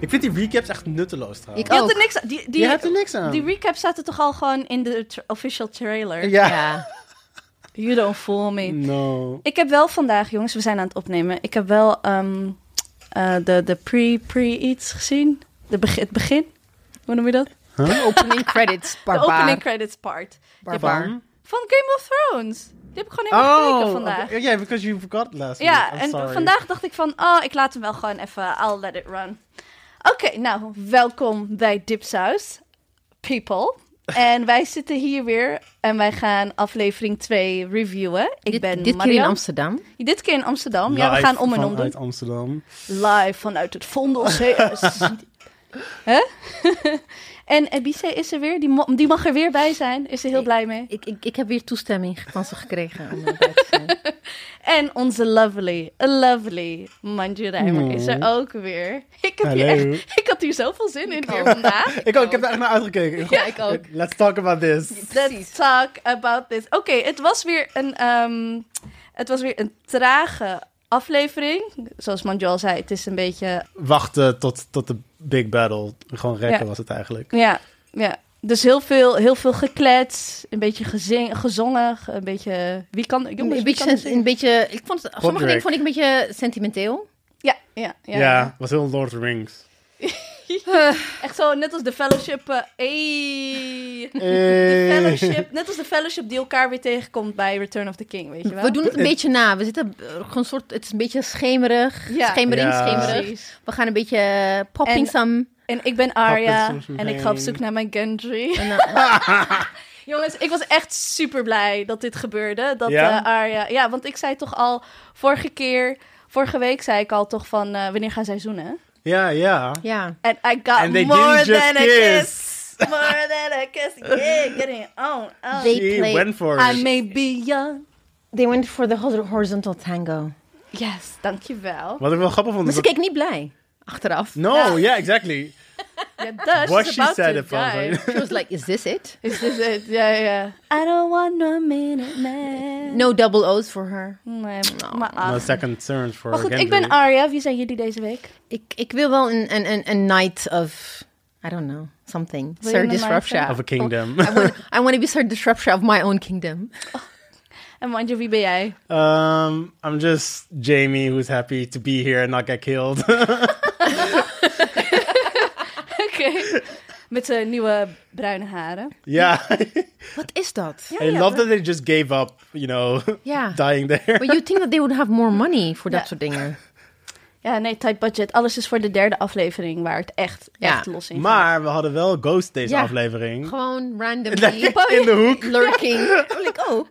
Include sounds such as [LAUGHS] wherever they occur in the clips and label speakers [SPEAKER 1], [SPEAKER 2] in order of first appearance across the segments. [SPEAKER 1] Ik vind die recaps echt nutteloos trouwens.
[SPEAKER 2] Ik
[SPEAKER 1] Ik
[SPEAKER 2] ook.
[SPEAKER 3] Je, had er niks, die, die,
[SPEAKER 1] Je hebt er niks aan.
[SPEAKER 3] die recap zaten toch al gewoon in de tra- official trailer.
[SPEAKER 1] ja. Mm.
[SPEAKER 2] Ja.
[SPEAKER 3] You don't fool me.
[SPEAKER 1] No.
[SPEAKER 3] Ik heb wel vandaag, jongens, we zijn aan het opnemen. Ik heb wel ehm, eh, de, de pre, pre iets gezien. De beg- het begin. Hoe noem je dat?
[SPEAKER 2] De opening credits,
[SPEAKER 3] De opening
[SPEAKER 2] barbaar.
[SPEAKER 3] credits part.
[SPEAKER 1] Oh.
[SPEAKER 2] Barbaar.
[SPEAKER 3] Van Game of Thrones. Die heb ik gewoon helemaal gekeken vandaag.
[SPEAKER 1] oké. Oh, Ja, because you forgot last
[SPEAKER 3] Ja,
[SPEAKER 1] week. I'm
[SPEAKER 3] en
[SPEAKER 1] sorry.
[SPEAKER 3] vandaag dacht ik van, oh, ik laat hem wel gewoon even, I'll let it run. Oké, nou, welkom bij Dipsaus, people. En wij zitten hier weer en wij gaan aflevering 2 reviewen. Ik
[SPEAKER 2] Dit,
[SPEAKER 3] ben
[SPEAKER 2] dit keer in
[SPEAKER 3] Marianne.
[SPEAKER 2] Amsterdam.
[SPEAKER 3] Dit keer in Amsterdam. ja, we
[SPEAKER 1] Live
[SPEAKER 3] gaan om en om doen.
[SPEAKER 1] vanuit Amsterdam.
[SPEAKER 3] Live vanuit het Vondel CS. Hè? [LAUGHS] en Ebice is er weer, die, mo- die mag er weer bij zijn. Is er heel blij mee.
[SPEAKER 2] Ik, ik, ik heb weer toestemming van ze gekregen om erbij te zijn.
[SPEAKER 3] En onze lovely, lovely Manju Rijmer is er ook weer. Ik, heb hier
[SPEAKER 1] Mm. Hallo.
[SPEAKER 3] echt, ik had hier zoveel zin in weer vandaag.
[SPEAKER 1] [LAUGHS] Ik, ook, ik heb daar echt naar uitgekeken.
[SPEAKER 3] Ja, ik ook.
[SPEAKER 1] Let's talk about this.
[SPEAKER 3] Let's talk about this. Oké, het was weer een, ehm, het was weer een trage aflevering. Zoals Manju al zei, het is een beetje...
[SPEAKER 1] Wachten tot, tot de big battle. Gewoon rekken
[SPEAKER 3] Ja.
[SPEAKER 1] was het eigenlijk.
[SPEAKER 3] Ja, ja. Dus heel veel, heel veel geklets, een beetje gezing, gezongen, ge- een beetje... Wie kan... Jongens,
[SPEAKER 2] Een
[SPEAKER 3] wie
[SPEAKER 2] beetje,
[SPEAKER 3] kan er
[SPEAKER 2] sen- een
[SPEAKER 3] zingen?
[SPEAKER 2] beetje, ik vond het, sommige
[SPEAKER 1] Drake.
[SPEAKER 2] dingen vond ik een beetje sentimenteel.
[SPEAKER 3] Ja, ja, ja.
[SPEAKER 1] Ja, was heel Lord of the Rings.
[SPEAKER 3] [LAUGHS] Echt zo, net als de fellowship. eh, hey.
[SPEAKER 1] Hey.
[SPEAKER 3] De fellowship, net als de fellowship die elkaar weer tegenkomt bij Return of the King, weet je wel?
[SPEAKER 2] We doen het een beetje na. We zitten eh, gewoon soort, het is een beetje schemerig.
[SPEAKER 3] Ja.
[SPEAKER 2] Schemering,
[SPEAKER 1] Ja.
[SPEAKER 2] schemerig.
[SPEAKER 3] Precies.
[SPEAKER 2] We gaan een beetje eh, popping
[SPEAKER 3] En-
[SPEAKER 2] some.
[SPEAKER 3] En ik ben Arya
[SPEAKER 1] Puppets om
[SPEAKER 3] en ik ga
[SPEAKER 1] heen.
[SPEAKER 3] op zoek naar mijn Gendry. [LAUGHS]
[SPEAKER 2] En, eh,
[SPEAKER 3] Jongens, ik was echt super blij dat dit gebeurde. Dat
[SPEAKER 1] Ja?
[SPEAKER 3] eh, Arya. Ja, want ik zei toch al vorige keer, vorige week zei ik al toch van eh, wanneer gaan zij zoenen?
[SPEAKER 1] Ja, ja.
[SPEAKER 2] ja.
[SPEAKER 3] En I got
[SPEAKER 1] And they
[SPEAKER 3] more
[SPEAKER 1] didn't just
[SPEAKER 3] than a
[SPEAKER 1] kiss.
[SPEAKER 3] kiss. More than a kiss. Yeah, getting on. on.
[SPEAKER 2] They
[SPEAKER 1] She
[SPEAKER 2] played-
[SPEAKER 1] went for it.
[SPEAKER 3] I may be young.
[SPEAKER 2] They went for the hor- horizontal tango.
[SPEAKER 3] Yes, dankjewel.
[SPEAKER 1] Wat ik wel grappig vond. is
[SPEAKER 2] Maar ze
[SPEAKER 1] dat-
[SPEAKER 2] keek niet blij. Achteraf.
[SPEAKER 1] No, yeah, exactly.
[SPEAKER 3] Ja, dus,
[SPEAKER 1] What
[SPEAKER 3] she's
[SPEAKER 1] she
[SPEAKER 3] about
[SPEAKER 1] said
[SPEAKER 3] to
[SPEAKER 1] ervan.
[SPEAKER 3] die.
[SPEAKER 2] She was like, is this it?
[SPEAKER 3] Is dit het? Ja, ja, ja. I don't want no minute man.
[SPEAKER 2] No double O's for her.
[SPEAKER 3] Nee, maar
[SPEAKER 1] No
[SPEAKER 3] ach.
[SPEAKER 1] second turn for
[SPEAKER 3] Maar goed, ik
[SPEAKER 1] Gendry.
[SPEAKER 3] ben ah, Arya. Wie zijn jullie deze week?
[SPEAKER 2] Ik, ik wil wel een, een, een, een night of, I don't know, something.
[SPEAKER 3] Wil
[SPEAKER 2] Sir
[SPEAKER 3] je een night
[SPEAKER 2] Disruption.
[SPEAKER 1] Of a
[SPEAKER 3] oh.
[SPEAKER 1] kingdom.
[SPEAKER 2] I want, I want to be Sir Disruption of my own kingdom.
[SPEAKER 3] En Manju, wie ben jij?
[SPEAKER 1] Um, I'm just Jamie, who's happy to be here and not get killed.
[SPEAKER 3] [LAUGHS]
[SPEAKER 1] [LAUGHS]
[SPEAKER 3] Oké. Met zijn nieuwe bruine haren.
[SPEAKER 1] yeah,
[SPEAKER 2] Wat is dat?
[SPEAKER 3] Ja,
[SPEAKER 1] I
[SPEAKER 3] ja,
[SPEAKER 1] love
[SPEAKER 3] we-
[SPEAKER 1] that they just gave up. You know,
[SPEAKER 2] Yeah.
[SPEAKER 1] [LAUGHS] dying there.
[SPEAKER 2] But you think that they would have more money for
[SPEAKER 3] Ja.
[SPEAKER 2] dat soort dingen.
[SPEAKER 3] Ja, nee, tight budget. Alles is voor de derde aflevering waar het echt,
[SPEAKER 2] Ja.
[SPEAKER 3] echt los in gaat.
[SPEAKER 1] Maar we hadden wel Ghost deze
[SPEAKER 2] Ja.
[SPEAKER 1] aflevering. [LAUGHS]
[SPEAKER 2] Gewoon randomly
[SPEAKER 1] In de
[SPEAKER 2] [LAUGHS]
[SPEAKER 1] hoek.
[SPEAKER 2] lurking. I'm like, oh.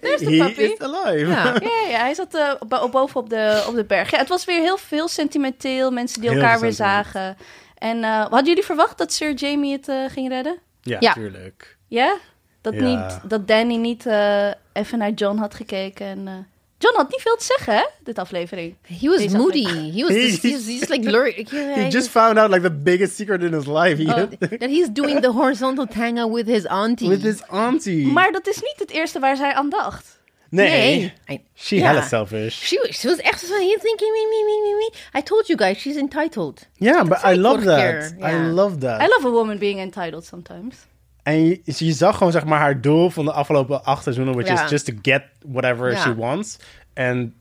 [SPEAKER 3] Daar is de
[SPEAKER 1] He
[SPEAKER 3] puppy.
[SPEAKER 1] is alive.
[SPEAKER 2] Ja.
[SPEAKER 3] Ja, ja, hij zat eh, bo- boven op de, op de berg. Ja, het was weer heel veel sentimenteel. Mensen die
[SPEAKER 1] Heel
[SPEAKER 3] elkaar
[SPEAKER 1] veel
[SPEAKER 3] weer
[SPEAKER 1] sentiment.
[SPEAKER 3] zagen. En eh, hadden jullie verwacht dat Sir Jamie het eh, ging redden?
[SPEAKER 1] [LAUGHS] Ja,
[SPEAKER 2] Ja.
[SPEAKER 1] tuurlijk.
[SPEAKER 3] Ja? Dat,
[SPEAKER 1] Ja.
[SPEAKER 3] Niet, dat Danny niet eh, even naar John had gekeken. En, eh, John had niet veel te zeggen, hè, dit aflevering.
[SPEAKER 1] Hm.
[SPEAKER 2] He was
[SPEAKER 3] Deze
[SPEAKER 2] moody. He was
[SPEAKER 1] He-
[SPEAKER 2] just, he's, he's like lurking.
[SPEAKER 1] He just found out like the biggest secret in his life.
[SPEAKER 2] Oh.
[SPEAKER 1] He-
[SPEAKER 2] that he's doing the horizontal tango with his
[SPEAKER 1] [LAUGHS]
[SPEAKER 2] auntie.
[SPEAKER 1] With his auntie.
[SPEAKER 3] Maar dat is niet het eerste waar zij aan dacht.
[SPEAKER 1] nee.
[SPEAKER 2] I-
[SPEAKER 1] She
[SPEAKER 2] Ja.
[SPEAKER 1] hella selfish.
[SPEAKER 2] She, was- she was echt zo, he's thinking me, me, me, me, me. I told you guys, she's entitled.
[SPEAKER 1] Yeah, but I
[SPEAKER 2] zei ik
[SPEAKER 1] love
[SPEAKER 2] vorige
[SPEAKER 1] that.
[SPEAKER 2] keer,
[SPEAKER 1] I
[SPEAKER 2] ja.
[SPEAKER 1] love that.
[SPEAKER 3] I love a woman being entitled sometimes.
[SPEAKER 1] En je, dus je zag gewoon zeg maar haar doel van de afgelopen acht seizoenen, which
[SPEAKER 2] Ja.
[SPEAKER 1] is just to get whatever
[SPEAKER 2] Ja.
[SPEAKER 1] she wants. En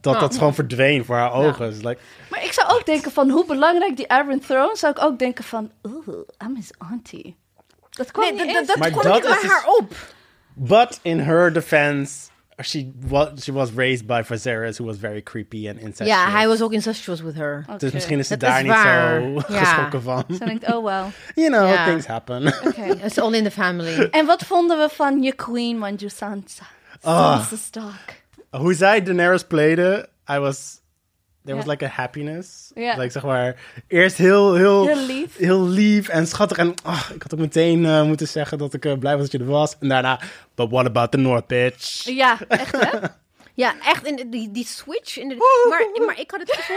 [SPEAKER 1] dat
[SPEAKER 2] Oh.
[SPEAKER 1] dat gewoon verdween voor haar ogen. Dus like,
[SPEAKER 3] Maar ik zou ook denken van hoe belangrijk die Aaron Throne... zou ik ook denken van, ooh, I'm his auntie. Dat kwam
[SPEAKER 2] Nee,
[SPEAKER 3] niet
[SPEAKER 2] dat-
[SPEAKER 3] eens.
[SPEAKER 2] dat- dat
[SPEAKER 1] Maar
[SPEAKER 2] kwam
[SPEAKER 1] dat
[SPEAKER 2] niet bij
[SPEAKER 1] is dus-
[SPEAKER 2] haar op.
[SPEAKER 1] but in her defense, she was she was raised by Viserys, who was very creepy en incestuous.
[SPEAKER 2] Ja, hij was ook incestuous with her.
[SPEAKER 1] Dus misschien is ze
[SPEAKER 2] Dat is
[SPEAKER 1] daar niet
[SPEAKER 2] waar.
[SPEAKER 1] zo
[SPEAKER 2] Ja.
[SPEAKER 1] geschrokken van.
[SPEAKER 3] Zo denkt, oh well.
[SPEAKER 1] You know,
[SPEAKER 2] Ja.
[SPEAKER 1] things happen.
[SPEAKER 2] [LAUGHS]
[SPEAKER 3] Oké.
[SPEAKER 2] It's all in the family.
[SPEAKER 3] [LAUGHS] En wat vonden we van je queen, Manju Sansa?
[SPEAKER 1] Ah.
[SPEAKER 3] Sansa Stark.
[SPEAKER 1] Hoe zij Daenerys playde, I was... There was
[SPEAKER 3] Ja.
[SPEAKER 1] like a happiness.
[SPEAKER 3] Ja.
[SPEAKER 1] Like, zeg maar, eerst heel, heel,
[SPEAKER 3] Heel lief.
[SPEAKER 1] heel lief en schattig. En ah, ik had ook meteen eh, moeten zeggen dat ik eh, blij was dat je er was. En daarna, but what about the North, bitch?
[SPEAKER 3] Ja, echt hè?
[SPEAKER 2] Ja, echt, in, die, die switch. In de, maar, maar ik had het gevoel...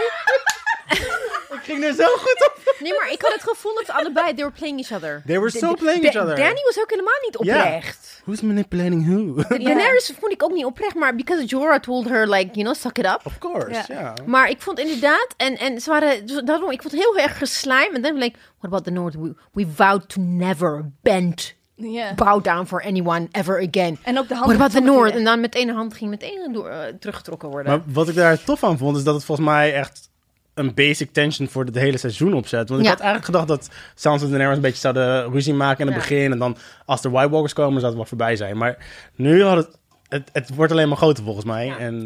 [SPEAKER 1] Ik ging er zo goed op.
[SPEAKER 2] Nee, maar ik had het gevoel dat ze allebei... They were playing each other.
[SPEAKER 1] They were so
[SPEAKER 2] Da-
[SPEAKER 1] playing each other.
[SPEAKER 2] Danny was ook helemaal niet
[SPEAKER 1] Ja.
[SPEAKER 2] oprecht.
[SPEAKER 1] Who's manipulating
[SPEAKER 3] [LAUGHS]
[SPEAKER 1] who?
[SPEAKER 2] Da- Daenerys vond ik ook niet oprecht, maar because Jorah told her, like, you know, suck it up.
[SPEAKER 1] of course,
[SPEAKER 3] Ja.
[SPEAKER 1] ja.
[SPEAKER 2] Maar ik vond inderdaad, en, en ze waren, dus daarom, ik vond het heel erg geslijm. En dan ben ik, what about the North? We, we vowed to never bend,
[SPEAKER 3] Ja.
[SPEAKER 2] bow down for anyone ever again.
[SPEAKER 3] En ook de
[SPEAKER 2] What
[SPEAKER 3] handen.
[SPEAKER 2] about the
[SPEAKER 3] van de
[SPEAKER 2] North? En
[SPEAKER 3] kinderen.
[SPEAKER 2] dan met één hand ging met één hand door, eh, teruggetrokken worden.
[SPEAKER 1] Maar wat ik daar tof aan vond, is dat het volgens mij echt een basic tension voor het hele seizoen opzet. Want ik
[SPEAKER 2] Ja.
[SPEAKER 1] had eigenlijk gedacht dat Sansa en Daenerys een beetje zouden ruzie maken in het
[SPEAKER 2] Ja.
[SPEAKER 1] begin. En dan als er White Walkers komen, zou het wel voorbij zijn. Maar nu had het... Het, het wordt alleen maar groter volgens mij. En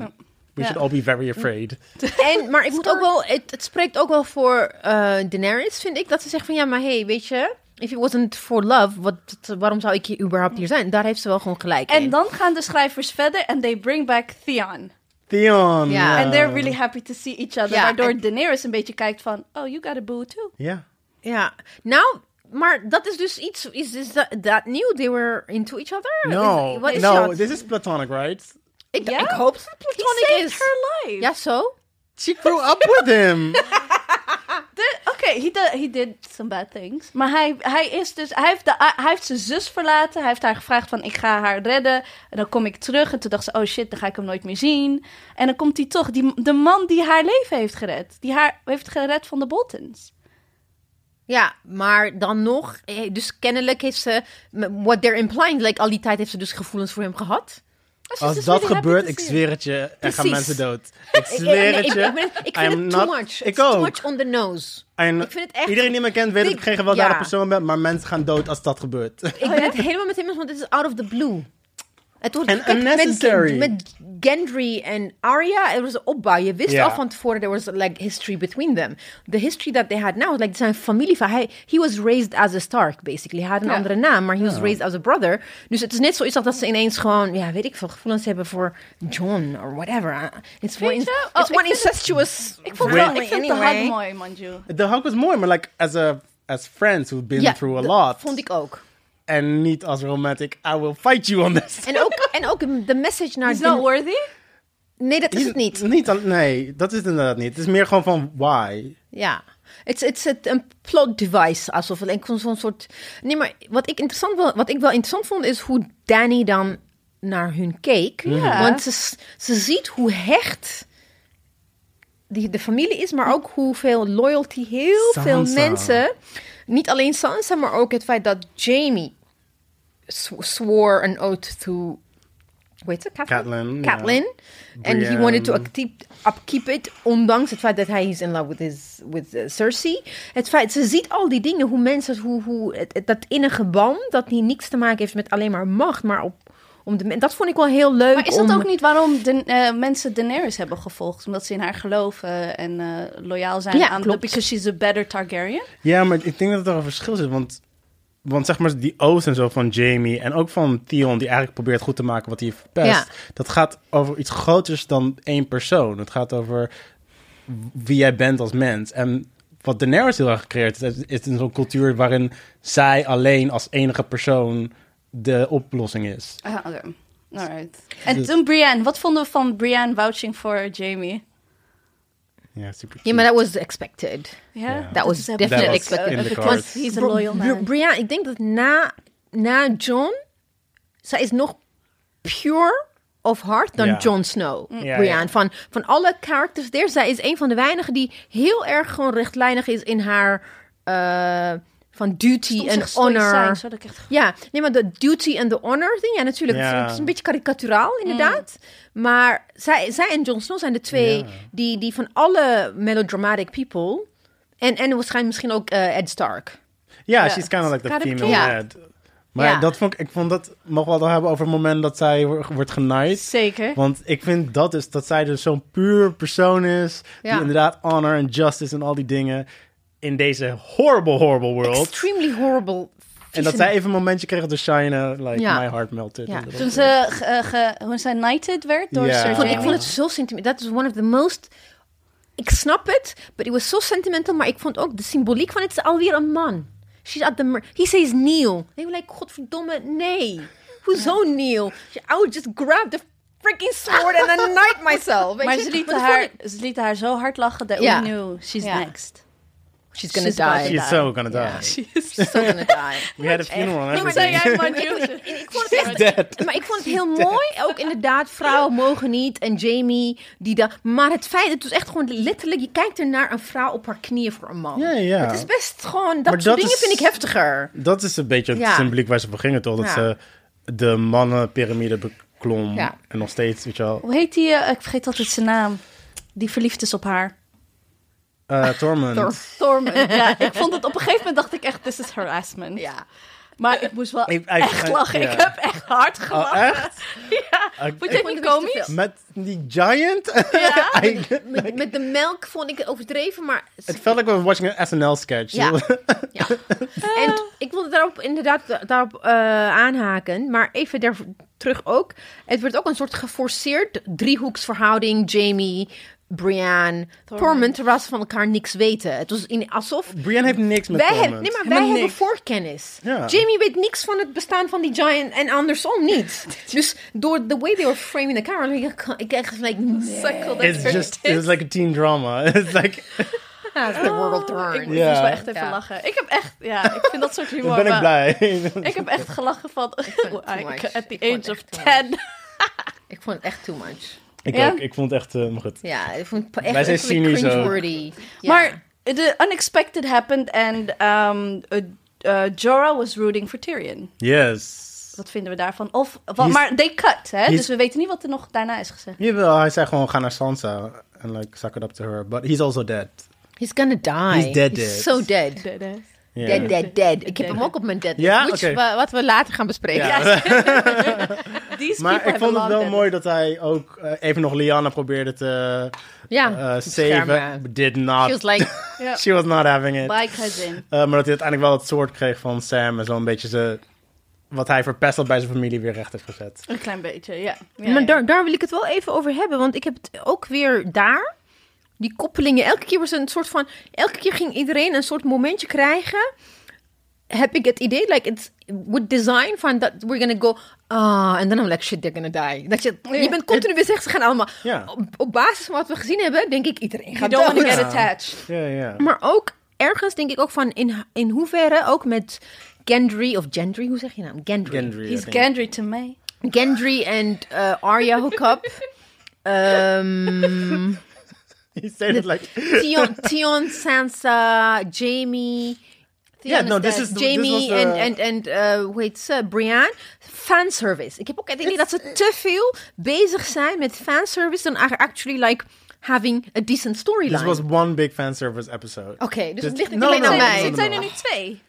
[SPEAKER 1] we
[SPEAKER 3] Ja.
[SPEAKER 1] should all be very
[SPEAKER 2] [LAUGHS]
[SPEAKER 1] afraid.
[SPEAKER 2] En, maar ik moet ook wel, het, het spreekt ook wel voor eh, Daenerys, vind ik. Dat ze zegt van, ja, maar hey, weet je... If it wasn't for love, wat, waarom zou ik hier überhaupt hier zijn? Daar heeft ze wel gewoon gelijk in.
[SPEAKER 3] En dan gaan de schrijvers verder en they bring back Theon.
[SPEAKER 1] Theon!
[SPEAKER 2] Ja.
[SPEAKER 3] And they're really happy to see each other.
[SPEAKER 2] Ja,
[SPEAKER 3] waardoor
[SPEAKER 2] en-
[SPEAKER 3] Daenerys een beetje kijkt van, oh, you got a boo too.
[SPEAKER 1] Ja.
[SPEAKER 2] Ja, nou, maar dat is dus iets. Is this that, that new? They were into each other?
[SPEAKER 1] No,
[SPEAKER 2] Is- wat is
[SPEAKER 1] no,
[SPEAKER 2] dat?
[SPEAKER 1] this is platonic, right?
[SPEAKER 2] Ik,
[SPEAKER 3] Ja?
[SPEAKER 2] ik hoop dat het
[SPEAKER 3] He
[SPEAKER 2] platonic
[SPEAKER 3] saved
[SPEAKER 2] is.
[SPEAKER 3] her life.
[SPEAKER 2] Ja, zo?
[SPEAKER 1] She grew up with
[SPEAKER 2] [LAUGHS]
[SPEAKER 1] him.
[SPEAKER 3] De- Oké, he, do- he did some bad things. Maar hij, hij is dus... Hij heeft, de, hij heeft zijn zus verlaten. Hij heeft haar gevraagd van, ik ga haar redden. En dan kom ik terug. En toen dacht ze, oh shit, dan ga ik hem nooit meer zien. En dan komt hij toch. Die, de man die haar leven heeft gered. Die haar heeft gered van de Boltons.
[SPEAKER 2] Ja, maar dan nog. eh, Dus kennelijk heeft ze. m- What they're implying, like al die tijd heeft ze dus gevoelens voor hem gehad.
[SPEAKER 3] dus
[SPEAKER 1] Als dat gebeurt, ik zweer het je, er gaan
[SPEAKER 2] Precies.
[SPEAKER 1] mensen dood. Ik
[SPEAKER 2] Ik-
[SPEAKER 1] zweer
[SPEAKER 2] ik,
[SPEAKER 1] het
[SPEAKER 2] ik,
[SPEAKER 1] je.
[SPEAKER 2] ik, ben- ik vind
[SPEAKER 1] I'm
[SPEAKER 2] het too
[SPEAKER 1] not-
[SPEAKER 2] much.
[SPEAKER 1] Ik
[SPEAKER 2] It's too
[SPEAKER 1] ook.
[SPEAKER 2] much on the nose.
[SPEAKER 1] En
[SPEAKER 2] Ik vind het echt-
[SPEAKER 1] Iedereen die me kent weet dat ik
[SPEAKER 2] Ik-
[SPEAKER 1] geen gewelddadige
[SPEAKER 2] ja.
[SPEAKER 1] persoon ben, maar mensen gaan dood als dat gebeurt. [LAUGHS]
[SPEAKER 3] Oh,
[SPEAKER 2] Ik ben het helemaal met hem eens, want het is out of the blue. Het wordt
[SPEAKER 1] En
[SPEAKER 2] kijk,
[SPEAKER 1] unnecessary.
[SPEAKER 2] Met, met Gendry en Arya, er was een opbouw. Je wist
[SPEAKER 1] Ja.
[SPEAKER 2] al van tevoren, there was like history between them. The history that they had now, like zijn familie van hij, he was raised as a Stark basically. Hij had een
[SPEAKER 3] Ja.
[SPEAKER 2] andere naam, maar he was raised as a brother. Dus het is net zoiets als dat ze ineens gewoon, ja, weet ik veel, gevoelens hebben voor John or whatever. Uh, It's one,
[SPEAKER 3] je?
[SPEAKER 2] in-
[SPEAKER 3] Oh,
[SPEAKER 2] it's
[SPEAKER 3] ik
[SPEAKER 2] one
[SPEAKER 3] vind het-
[SPEAKER 2] incestuous.
[SPEAKER 3] Ik vond, wel,
[SPEAKER 2] family
[SPEAKER 3] ik vind de
[SPEAKER 2] anyway.
[SPEAKER 3] hug mooi, Manju.
[SPEAKER 1] De hug was mooi, maar like as a as friends who've been
[SPEAKER 2] Ja,
[SPEAKER 1] through a
[SPEAKER 2] dat
[SPEAKER 1] lot.
[SPEAKER 2] Vond ik ook.
[SPEAKER 1] En niet als romantic. I will fight you on this.
[SPEAKER 2] En ook, en ook de message naar...
[SPEAKER 3] Is not
[SPEAKER 2] de-
[SPEAKER 3] worthy?
[SPEAKER 2] nee, dat is het niet.
[SPEAKER 1] [LAUGHS] niet al- nee, dat is het inderdaad niet. Het is meer gewoon van why.
[SPEAKER 2] Ja. Het is- het is het- een plot device, alsof het een- zo'n soort... Nee, maar wat ik, interessant, wel- wat ik wel interessant vond, is hoe Danny dan naar hun keek.
[SPEAKER 3] Ja.
[SPEAKER 2] Want ze, s- ze ziet hoe hecht die, de familie is, maar ook hoeveel loyalty heel
[SPEAKER 1] Sansa.
[SPEAKER 2] veel mensen... Niet alleen Sansa, maar ook het feit dat Jamie sw- swore an oath to... Hoe heet ze?
[SPEAKER 1] Catelyn, ja.
[SPEAKER 2] Catelyn. And he
[SPEAKER 1] Brienne.
[SPEAKER 2] wanted to upkeep, upkeep it, ondanks het feit dat hij is in love with, his, with eh, Cersei. Het feit, ze ziet al die dingen, hoe mensen, hoe, hoe, het- het- dat innige band, dat die niks te maken heeft met alleen maar macht, maar op, om de men- Dat vond ik wel heel leuk.
[SPEAKER 3] Maar is dat
[SPEAKER 2] om-
[SPEAKER 3] ook niet waarom de, eh, mensen Daenerys hebben gevolgd? Omdat ze in haar geloven en eh, loyaal zijn
[SPEAKER 2] Ja,
[SPEAKER 3] aan...
[SPEAKER 2] klopt.
[SPEAKER 3] Because she's a better Targaryen?
[SPEAKER 1] Ja, maar ik denk dat er een verschil zit, want want zeg maar die oath en zo van Jamie en ook van Theon die eigenlijk probeert goed te maken wat hij heeft verpest. Dat gaat over iets groters dan één persoon. Het gaat over wie jij bent als mens. En wat Daenerys heel erg gecreëerd heeft, is in zo'n cultuur waarin zij alleen als enige persoon de oplossing is.
[SPEAKER 3] Ah, oké. Alright.
[SPEAKER 2] Dus-
[SPEAKER 3] En toen Brienne. Wat vonden we van Brienne vouching voor Jamie?
[SPEAKER 1] Ja, super.
[SPEAKER 2] Ja, maar that was expected.
[SPEAKER 3] Ja,
[SPEAKER 1] Ja.
[SPEAKER 2] was
[SPEAKER 3] is hem
[SPEAKER 2] definitely
[SPEAKER 3] ook.
[SPEAKER 2] expected.
[SPEAKER 1] In the
[SPEAKER 3] Want
[SPEAKER 1] cards.
[SPEAKER 3] He's a
[SPEAKER 2] Br-
[SPEAKER 3] loyal
[SPEAKER 2] Br-
[SPEAKER 3] man.
[SPEAKER 2] Brienne, ik denk dat na, na John, zij is nog pure of heart dan
[SPEAKER 1] Ja.
[SPEAKER 2] Jon Snow.
[SPEAKER 3] Mm.
[SPEAKER 1] Ja,
[SPEAKER 2] Brienne,
[SPEAKER 1] ja.
[SPEAKER 2] Van, van alle characters there, zij is een van de weinigen die heel erg gewoon rechtlijnig is in haar eh, van duty
[SPEAKER 3] Om
[SPEAKER 2] en
[SPEAKER 3] zich stoïcijn,
[SPEAKER 2] honor.
[SPEAKER 3] zodat ik echt-
[SPEAKER 2] Ja, nee, maar de duty en de honor ding, ja natuurlijk, het is-
[SPEAKER 1] Ja.
[SPEAKER 2] het is een beetje karikaturaal inderdaad. Maar zij, zij en Jon Snow zijn de twee
[SPEAKER 1] Ja.
[SPEAKER 2] die, die van alle melodramatic people... En, en waarschijnlijk misschien ook eh, Ed Stark.
[SPEAKER 1] Ja,
[SPEAKER 3] Ja.
[SPEAKER 1] she's kind of like the
[SPEAKER 3] Kind of
[SPEAKER 1] female
[SPEAKER 2] cute.
[SPEAKER 1] head. Maar
[SPEAKER 2] Ja.
[SPEAKER 1] dat vond ik, ik vond dat, mogen we het al hebben over het moment dat zij wo- wordt genaaid.
[SPEAKER 3] Zeker.
[SPEAKER 1] Want ik vind dat dus, dat zij dus zo'n puur persoon is.
[SPEAKER 2] Ja.
[SPEAKER 1] Die inderdaad honor en justice en al die dingen. In deze horrible, horrible world.
[SPEAKER 2] Extremely horrible.
[SPEAKER 1] en dat zij even een momentje kreeg te shinen. Like,
[SPEAKER 2] Ja.
[SPEAKER 1] my heart melted.
[SPEAKER 2] Ja.
[SPEAKER 1] En dat
[SPEAKER 3] Toen
[SPEAKER 1] was-
[SPEAKER 3] ze, ge- eh, ge- hoe zij knighted werd door
[SPEAKER 1] Ja.
[SPEAKER 3] Sir
[SPEAKER 1] Ik
[SPEAKER 2] vond-
[SPEAKER 3] Jamie.
[SPEAKER 2] ik vond het zo sentimental. Dat is one of the most... Ik snap het, but it was so sentimental. Maar ik vond ook de symboliek van het is alweer een man. She's at the... mer- He says kneel. They were like, godverdomme, nee. Hoezo kneel? I would just grab the freaking sword and anoint myself. weet
[SPEAKER 3] maar
[SPEAKER 2] je?
[SPEAKER 3] ze
[SPEAKER 2] Maar
[SPEAKER 3] lieten,
[SPEAKER 2] dat vond
[SPEAKER 3] haar,
[SPEAKER 2] ik-
[SPEAKER 3] ze lieten haar zo hard lachen dat
[SPEAKER 2] Ja.
[SPEAKER 3] we knew she's
[SPEAKER 2] Ja.
[SPEAKER 3] [LAUGHS] next.
[SPEAKER 2] She's gonna
[SPEAKER 3] She's about
[SPEAKER 2] die.
[SPEAKER 3] to
[SPEAKER 1] She's so gonna die.
[SPEAKER 2] Ja.
[SPEAKER 3] She's
[SPEAKER 2] She's still gonna die.
[SPEAKER 1] We had a funeral and
[SPEAKER 2] Nee, maar
[SPEAKER 1] everything.
[SPEAKER 2] [LAUGHS]
[SPEAKER 3] jij maar
[SPEAKER 2] En ik vond het echt- Maar ik vond het heel mooi. Ook inderdaad, vrouwen mogen niet. En Jamie, die dat. Maar het feit, het was echt gewoon letterlijk. Je kijkt er naar een vrouw op haar knieën voor een man.
[SPEAKER 1] Ja, ja.
[SPEAKER 2] Het is best gewoon. Dat
[SPEAKER 1] Maar
[SPEAKER 2] soort
[SPEAKER 1] dat
[SPEAKER 2] dingen
[SPEAKER 1] is-
[SPEAKER 2] vind ik heftiger.
[SPEAKER 1] Dat is een beetje het
[SPEAKER 2] Ja.
[SPEAKER 1] symboliek waar ze voor gingen, toch? Dat
[SPEAKER 2] Ja.
[SPEAKER 1] ze de mannenpyramide beklom.
[SPEAKER 2] Ja.
[SPEAKER 1] En nog steeds, weet je wel,
[SPEAKER 3] Hoe heet die? eh, ik vergeet altijd zijn naam. Die verliefd is op haar.
[SPEAKER 1] eh Tormund.
[SPEAKER 2] Door-
[SPEAKER 3] Thorman. [LAUGHS] ja, ik vond het op een gegeven moment dacht ik echt, this is harassment.
[SPEAKER 2] Ja.
[SPEAKER 3] Maar ik moest wel
[SPEAKER 1] Ik- ik-
[SPEAKER 3] echt
[SPEAKER 1] ik-
[SPEAKER 3] lachen.
[SPEAKER 1] ja.
[SPEAKER 3] Ik heb echt hard
[SPEAKER 1] Oh,
[SPEAKER 3] gelachen.
[SPEAKER 1] echt?
[SPEAKER 3] [LAUGHS] ja.
[SPEAKER 1] Ik-
[SPEAKER 3] Vond
[SPEAKER 1] ik-
[SPEAKER 3] je het
[SPEAKER 2] vond
[SPEAKER 3] niet
[SPEAKER 2] het
[SPEAKER 3] komisch?
[SPEAKER 2] best
[SPEAKER 1] met die giant? [LAUGHS]
[SPEAKER 3] Ja.
[SPEAKER 1] I-
[SPEAKER 2] Met, met de melk vond ik het overdreven, maar.
[SPEAKER 1] het felt like we were watching an SNL sketch.
[SPEAKER 2] Ja.
[SPEAKER 1] [LAUGHS]
[SPEAKER 2] Ja. En t- ik wilde daarop inderdaad da- daarop eh, aanhaken, maar even daar terug ook. Het werd ook een soort geforceerd driehoeksverhouding. Jamie, Brian, Torment, terwijl ze van elkaar niks weten. Het was in, alsof
[SPEAKER 1] Brian heeft niks met
[SPEAKER 2] wij, hebben,
[SPEAKER 1] Tormund.
[SPEAKER 2] nee, maar wij
[SPEAKER 3] Helemaal
[SPEAKER 2] hebben
[SPEAKER 3] niks.
[SPEAKER 2] voorkennis.
[SPEAKER 1] Ja.
[SPEAKER 2] Jamie weet niks van het bestaan van die giant en andersom niet.
[SPEAKER 1] [LAUGHS]
[SPEAKER 2] dus door the way they were framing the camera, ik- ik echt like,
[SPEAKER 3] Sukkel, dat
[SPEAKER 1] It's
[SPEAKER 3] soort
[SPEAKER 1] just,
[SPEAKER 3] shit.
[SPEAKER 1] it's like a teen drama. [LAUGHS] It's like,
[SPEAKER 2] yeah, the world
[SPEAKER 3] Ik
[SPEAKER 2] turn.
[SPEAKER 3] moest dus
[SPEAKER 1] Ja.
[SPEAKER 3] wel echt even
[SPEAKER 2] Ja.
[SPEAKER 3] lachen. Ik heb echt, ja, ik vind dat soort
[SPEAKER 1] dan
[SPEAKER 3] humor.
[SPEAKER 1] ben ik
[SPEAKER 3] wel-
[SPEAKER 2] [LAUGHS]
[SPEAKER 1] blij.
[SPEAKER 3] Ik heb echt gelachen van, [LAUGHS]
[SPEAKER 2] vind het too
[SPEAKER 3] I-
[SPEAKER 2] much.
[SPEAKER 3] at the
[SPEAKER 2] Ik vond het
[SPEAKER 3] age of
[SPEAKER 2] echt too much.
[SPEAKER 3] 10.
[SPEAKER 2] Ik vond het echt too much.
[SPEAKER 1] ik
[SPEAKER 3] Ja?
[SPEAKER 1] ook, ik vond het echt, eh, maar goed.
[SPEAKER 2] Ja, ik vond het echt
[SPEAKER 1] Wij zijn
[SPEAKER 2] echt een beetje
[SPEAKER 1] cynisch ook.
[SPEAKER 2] cringeworthy. Ja.
[SPEAKER 3] Maar the unexpected happened and um, uh, uh, Jorah was rooting for Tyrion.
[SPEAKER 1] Yes.
[SPEAKER 3] Wat vinden we daarvan? Of, wa-
[SPEAKER 1] He's-
[SPEAKER 3] maar they cut, hè?
[SPEAKER 1] he's-
[SPEAKER 3] Dus we weten niet wat er nog daarna is gezegd.
[SPEAKER 1] Jawel, hij zei gewoon, ga naar Sansa. En like, suck it up to her. But he's also dead.
[SPEAKER 2] He's gonna die.
[SPEAKER 1] He's dead,
[SPEAKER 2] He's
[SPEAKER 1] dead.
[SPEAKER 2] so dead.
[SPEAKER 1] Yeah.
[SPEAKER 2] Dead, dead, dead. Ik heb hem ook op mijn dead list.
[SPEAKER 1] Ja?
[SPEAKER 2] which
[SPEAKER 1] Oké.
[SPEAKER 2] we- wat we later gaan bespreken.
[SPEAKER 1] Ja. [LAUGHS]
[SPEAKER 3] These
[SPEAKER 1] Maar
[SPEAKER 3] people
[SPEAKER 1] ik
[SPEAKER 3] have
[SPEAKER 1] vond het
[SPEAKER 3] long
[SPEAKER 1] wel
[SPEAKER 3] dead.
[SPEAKER 1] mooi dat hij ook eh, even nog Liana probeerde te
[SPEAKER 2] Ja,
[SPEAKER 1] eh,
[SPEAKER 2] beschermen.
[SPEAKER 1] saven. Did not.
[SPEAKER 2] Ah. She was like,
[SPEAKER 3] Ja.
[SPEAKER 1] She was not having it.
[SPEAKER 3] Bye, cousin.
[SPEAKER 1] Eh, maar dat hij uiteindelijk wel het soort kreeg van Sam. En zo'n beetje ze, wat hij verpest had bij zijn familie weer recht heeft gezet.
[SPEAKER 3] Een klein beetje, ja. Ja,
[SPEAKER 2] maar
[SPEAKER 3] ja.
[SPEAKER 2] daar, daar wil ik het wel even over hebben. Want ik heb het ook weer daar. Die koppelingen. Elke keer was een soort van. Elke keer ging iedereen een soort momentje krijgen. Heb ik het idee, like it's with design van dat we're gonna go. Ah, en dan I'm like shit, they're gonna die. Dat je, je bent continu bezig, ze gaan allemaal.
[SPEAKER 1] Ja.
[SPEAKER 2] Op, op basis van wat we gezien hebben, denk ik iedereen
[SPEAKER 3] You
[SPEAKER 2] gaat
[SPEAKER 3] don't want to
[SPEAKER 2] dood.
[SPEAKER 3] get
[SPEAKER 1] Ja.
[SPEAKER 3] attached.
[SPEAKER 1] Ja, ja.
[SPEAKER 2] Maar ook ergens denk ik ook van in, in hoeverre ook met Gendry of Gendry, hoe zeg je nou? Gendry.
[SPEAKER 1] Gendry, I
[SPEAKER 3] He's
[SPEAKER 1] think.
[SPEAKER 3] Gendry to me.
[SPEAKER 2] Gendry en eh, Arya hook
[SPEAKER 3] [LAUGHS]
[SPEAKER 2] up. Ehm,
[SPEAKER 1] He said it like...
[SPEAKER 2] Tion, Tion, Sansa, uh, Jamie.
[SPEAKER 1] Ja, no, this is the- this was
[SPEAKER 2] Jamie
[SPEAKER 1] the-
[SPEAKER 2] en en en eh, hoe heet ze? Brian. Fanservice. Ik heb ook het idee dat ze te veel bezig zijn met fanservice dan eigenlijk actually like having a decent
[SPEAKER 1] This
[SPEAKER 2] storyline.
[SPEAKER 1] was one big fanservice episode.
[SPEAKER 2] Oké, dus
[SPEAKER 1] Dit-
[SPEAKER 2] het ligt niet
[SPEAKER 1] no,
[SPEAKER 2] alleen
[SPEAKER 1] no,
[SPEAKER 2] aan
[SPEAKER 1] no,
[SPEAKER 2] mij.
[SPEAKER 1] no,
[SPEAKER 3] Het
[SPEAKER 1] no.
[SPEAKER 3] zijn er nu twee.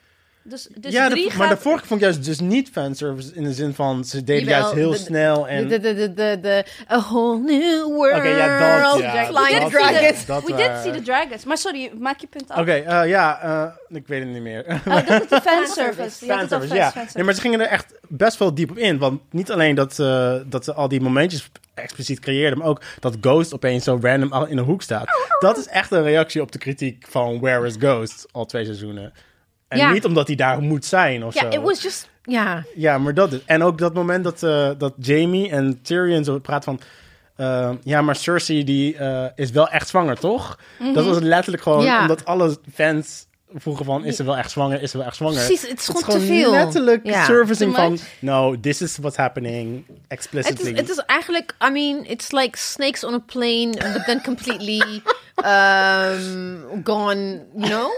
[SPEAKER 3] Dus, dus
[SPEAKER 1] ja, de-
[SPEAKER 3] drie
[SPEAKER 1] maar de
[SPEAKER 3] gaat...
[SPEAKER 1] vorige vond ik juist dus niet fanservice in de zin van ze deden
[SPEAKER 2] Jawel,
[SPEAKER 1] juist heel
[SPEAKER 2] de-
[SPEAKER 1] snel en...
[SPEAKER 2] De, de, de, de, de, a whole new world.
[SPEAKER 1] Oké, ja, dat, ja,
[SPEAKER 2] flying
[SPEAKER 1] dat-
[SPEAKER 2] dragons.
[SPEAKER 1] dat
[SPEAKER 3] we
[SPEAKER 1] waar.
[SPEAKER 3] did see the dragons. Maar sorry, maak je punt af.
[SPEAKER 1] Oké, eh, ja, eh, ik weet het niet meer.
[SPEAKER 3] Oh, dat is de fanservice. Je had het
[SPEAKER 1] [LAUGHS] fanservice,
[SPEAKER 3] al fans-
[SPEAKER 1] ja.
[SPEAKER 3] fanservice.
[SPEAKER 1] Nee, maar ze gingen er echt best wel diep op in. Want niet alleen dat ze, dat ze al die momentjes expliciet creëerden, maar ook dat Ghost opeens zo random al in een hoek staat. Dat is echt een reactie op de kritiek van Where is Ghost al twee seizoenen. En
[SPEAKER 2] Ja.
[SPEAKER 1] niet omdat hij daar moet zijn of
[SPEAKER 2] Ja,
[SPEAKER 1] zo.
[SPEAKER 2] it was just... Ja,
[SPEAKER 1] Ja, maar dat is. En ook dat moment dat, eh, dat Jamie en Tyrion zo praten van. eh, ja, maar Cersei die eh, is wel echt zwanger, toch? Dat was letterlijk gewoon
[SPEAKER 2] Mhm. Ja.
[SPEAKER 1] omdat alle fans vroegen van... is ze wel echt zwanger, is ze wel echt zwanger?
[SPEAKER 2] Precies, het is gewoon te veel.
[SPEAKER 1] letterlijk
[SPEAKER 2] Ja.
[SPEAKER 1] servicing
[SPEAKER 3] Too
[SPEAKER 1] van...
[SPEAKER 3] much.
[SPEAKER 1] no, this is what's happening
[SPEAKER 2] het is,
[SPEAKER 1] explicitly. [LAUGHS]
[SPEAKER 2] het is eigenlijk... I mean, it's like snakes on a plane,
[SPEAKER 1] [LAUGHS]
[SPEAKER 2] but then completely um, gone, you know?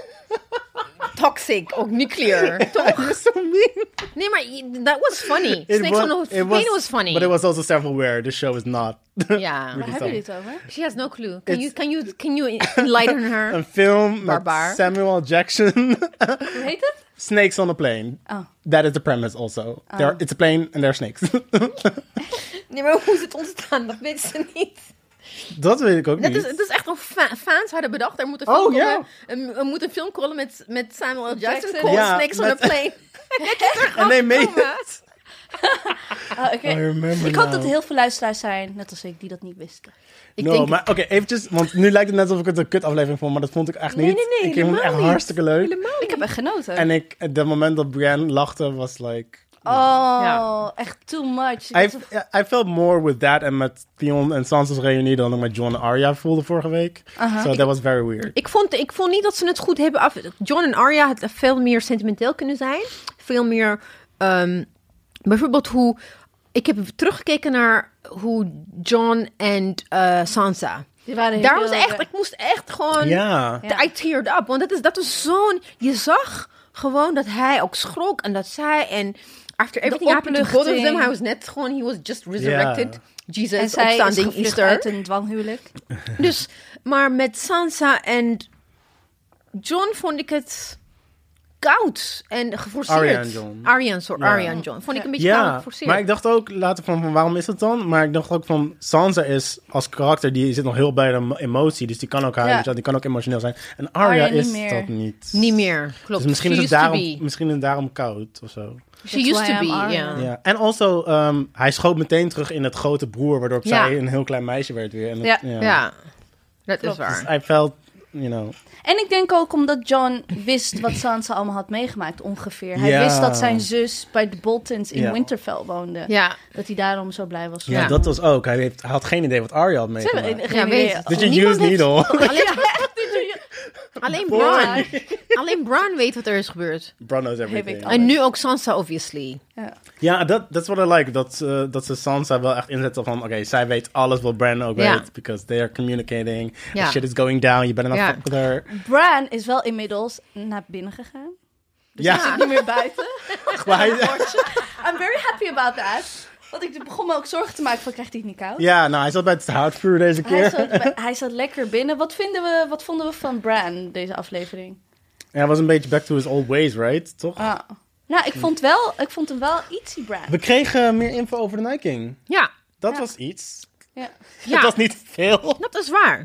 [SPEAKER 2] toxic, ook nuclear. Toch?
[SPEAKER 1] You're so
[SPEAKER 2] [LAUGHS]
[SPEAKER 1] mean.
[SPEAKER 2] Nee, maar je- that was funny. Snakes on a
[SPEAKER 1] it
[SPEAKER 2] plane was funny.
[SPEAKER 1] But it was also self-aware. The show is not. [LAUGHS]
[SPEAKER 2] Ja.
[SPEAKER 3] Waar
[SPEAKER 1] Really
[SPEAKER 3] hebben
[SPEAKER 1] something.
[SPEAKER 3] jullie het over?
[SPEAKER 2] She has no clue. Can you, can you, can you enlighten her?
[SPEAKER 1] [LAUGHS] Een film met
[SPEAKER 2] Barbaar.
[SPEAKER 1] Samuel Jackson. [LAUGHS]
[SPEAKER 3] Hoe heet het?
[SPEAKER 1] snakes on a plane.
[SPEAKER 3] Oh.
[SPEAKER 1] That is the premise also. There,
[SPEAKER 2] Oh.
[SPEAKER 1] it's a plane and there are snakes. [LAUGHS]
[SPEAKER 2] Nee, maar hoe is het ontstaan? Dat weten ze niet.
[SPEAKER 1] dat weet ik ook
[SPEAKER 2] Dat
[SPEAKER 1] niet.
[SPEAKER 2] is, dat is echt een fa- fans hadden bedacht. Er moet een
[SPEAKER 1] Oh,
[SPEAKER 2] film, komen,
[SPEAKER 1] ja.
[SPEAKER 2] een, er moet een film komen met, met Samuel L. Jackson.
[SPEAKER 3] Jackson.
[SPEAKER 2] Called
[SPEAKER 1] Ja,
[SPEAKER 2] Snakes on a
[SPEAKER 1] met- [LAUGHS]
[SPEAKER 2] Plane.
[SPEAKER 1] en they made it.
[SPEAKER 3] Oh, oké.
[SPEAKER 1] I remember
[SPEAKER 3] Ik hoop dat
[SPEAKER 1] now.
[SPEAKER 3] er heel veel luisteraars zijn, net als ik, die dat niet wisten.
[SPEAKER 2] Ik
[SPEAKER 1] no,
[SPEAKER 2] denk-
[SPEAKER 1] maar oké, eventjes, want nu lijkt het net alsof ik het een kut aflevering vond, maar dat vond ik echt niet. ik vond het echt hartstikke leuk.
[SPEAKER 2] Helemaal
[SPEAKER 3] Ik heb echt genoten.
[SPEAKER 1] En ik, het moment dat Brienne lachte was like,
[SPEAKER 3] Oh,
[SPEAKER 2] Ja.
[SPEAKER 3] echt too much. Ik
[SPEAKER 1] I,
[SPEAKER 3] was-
[SPEAKER 1] I felt more with that en met Theon en Sansa's reunie dan ik met Jon en Arya voelde vorige week. So that was very weird.
[SPEAKER 2] Ik vond, ik vond niet dat ze het goed hebben af. John en Arya had veel meer sentimenteel kunnen zijn. Veel meer. ehm, bijvoorbeeld hoe. Ik heb teruggekeken naar hoe John en eh, Sansa.
[SPEAKER 3] Die waren
[SPEAKER 2] Daar
[SPEAKER 3] heel-
[SPEAKER 2] was echt. Ik moest echt gewoon.
[SPEAKER 1] Ja.
[SPEAKER 3] Ja.
[SPEAKER 2] I teared up. Want dat, is, dat was zo'n... Je zag gewoon dat hij ook schrok en dat zij... En after everything happened to both of them,
[SPEAKER 3] opluchting.
[SPEAKER 2] hij was net gewoon... He was just resurrected.
[SPEAKER 1] Ja.
[SPEAKER 2] Jesus,
[SPEAKER 3] En zij is
[SPEAKER 2] opstanding,
[SPEAKER 3] gevlucht
[SPEAKER 2] Easter.
[SPEAKER 3] uit een dwanghuwelijk.
[SPEAKER 2] Dus, maar met Sansa en John vond ik het koud en geforceerd.
[SPEAKER 1] Arya en Jon.
[SPEAKER 2] Arya en sorry,
[SPEAKER 1] Ja.
[SPEAKER 2] Arya en John. Vond ik een beetje koud en
[SPEAKER 1] Ja,
[SPEAKER 2] geforceerd.
[SPEAKER 1] maar ik dacht ook later van, van waarom is het dan? Maar ik dacht ook van Sansa is als karakter, die zit nog heel bij de mo- emotie. Dus die kan ook huilen,
[SPEAKER 3] Ja.
[SPEAKER 1] die kan ook emotioneel zijn. En
[SPEAKER 3] Arya
[SPEAKER 1] Arya
[SPEAKER 3] niet
[SPEAKER 1] is
[SPEAKER 3] meer.
[SPEAKER 1] dat niet.
[SPEAKER 2] Niet meer, klopt.
[SPEAKER 1] Dus misschien is,
[SPEAKER 2] She
[SPEAKER 1] het
[SPEAKER 2] used to
[SPEAKER 1] daarom,
[SPEAKER 2] be.
[SPEAKER 1] misschien is het daarom koud of zo.
[SPEAKER 2] She
[SPEAKER 3] That's
[SPEAKER 2] used
[SPEAKER 3] why
[SPEAKER 2] to
[SPEAKER 3] I'm
[SPEAKER 2] be,
[SPEAKER 3] Arya.
[SPEAKER 2] ja.
[SPEAKER 1] Ja. En also, ehm, hij schoot meteen terug in het grote broer, waardoor
[SPEAKER 2] Ja.
[SPEAKER 1] zij een heel klein meisje werd weer. En dat-
[SPEAKER 3] Ja.
[SPEAKER 2] Ja, dat is
[SPEAKER 3] Klopt.
[SPEAKER 2] waar.
[SPEAKER 1] I felt, you know.
[SPEAKER 3] En ik denk ook omdat John wist wat Sansa allemaal had meegemaakt ongeveer. Hij
[SPEAKER 1] Ja.
[SPEAKER 3] wist dat zijn zus bij de Boltons in
[SPEAKER 1] Ja.
[SPEAKER 3] Winterfell woonde.
[SPEAKER 1] [LAUGHS]
[SPEAKER 2] Ja,
[SPEAKER 3] Dat hij daarom zo blij was.
[SPEAKER 1] Ja,
[SPEAKER 2] Ja.
[SPEAKER 1] dat was ook. Hij, heeft, hij had geen idee wat Arya had
[SPEAKER 3] Ze hebben
[SPEAKER 1] meegemaakt.
[SPEAKER 3] geen
[SPEAKER 2] Ja,
[SPEAKER 3] idee.
[SPEAKER 2] weet-
[SPEAKER 1] Did you
[SPEAKER 2] Niemand
[SPEAKER 1] use needle?
[SPEAKER 2] [LAUGHS]
[SPEAKER 1] [LAUGHS]
[SPEAKER 2] Alleen, alleen Bran. Alleen Bran weet wat er is gebeurd.
[SPEAKER 1] Bran knows
[SPEAKER 3] ik
[SPEAKER 1] everything.
[SPEAKER 3] al.
[SPEAKER 2] En nu ook Sansa, obviously.
[SPEAKER 3] Ja.
[SPEAKER 1] Ja, dat dat is wat ik like. Dat, ze- dat ze Sansa wel echt inzetten van... Oké, zij weet alles wat Bran ook
[SPEAKER 2] Ja.
[SPEAKER 1] weet. Because they are communicating.
[SPEAKER 2] Ja.
[SPEAKER 1] Shit is going down. You better not
[SPEAKER 2] Ja.
[SPEAKER 1] fuck with her.
[SPEAKER 3] Bran is wel inmiddels naar binnen gegaan.
[SPEAKER 2] Dus
[SPEAKER 1] ja,
[SPEAKER 3] Niet meer buiten.
[SPEAKER 1] [LAUGHS] maar hij-
[SPEAKER 3] I'm very happy about that. Want ik begon me ook zorgen te maken van krijgt hij het niet koud?
[SPEAKER 1] ja, nou, hij zat bij het houtvuur deze
[SPEAKER 3] Hij
[SPEAKER 1] keer.
[SPEAKER 3] zat, hij zat lekker binnen. Wat, vinden we, wat vonden we van Bran, deze aflevering?
[SPEAKER 1] En hij was een beetje back to his old ways, right? Toch?
[SPEAKER 3] Ah. Nou, ik vond, wel, ik vond hem wel ietsie Bran.
[SPEAKER 1] We kregen meer info over de Night King.
[SPEAKER 2] Ja,
[SPEAKER 1] Dat
[SPEAKER 3] Ja.
[SPEAKER 1] was iets.
[SPEAKER 3] Ja.
[SPEAKER 1] [LAUGHS]
[SPEAKER 2] ja.
[SPEAKER 1] Dat was niet veel.
[SPEAKER 2] Dat is
[SPEAKER 1] Ah.
[SPEAKER 2] waar.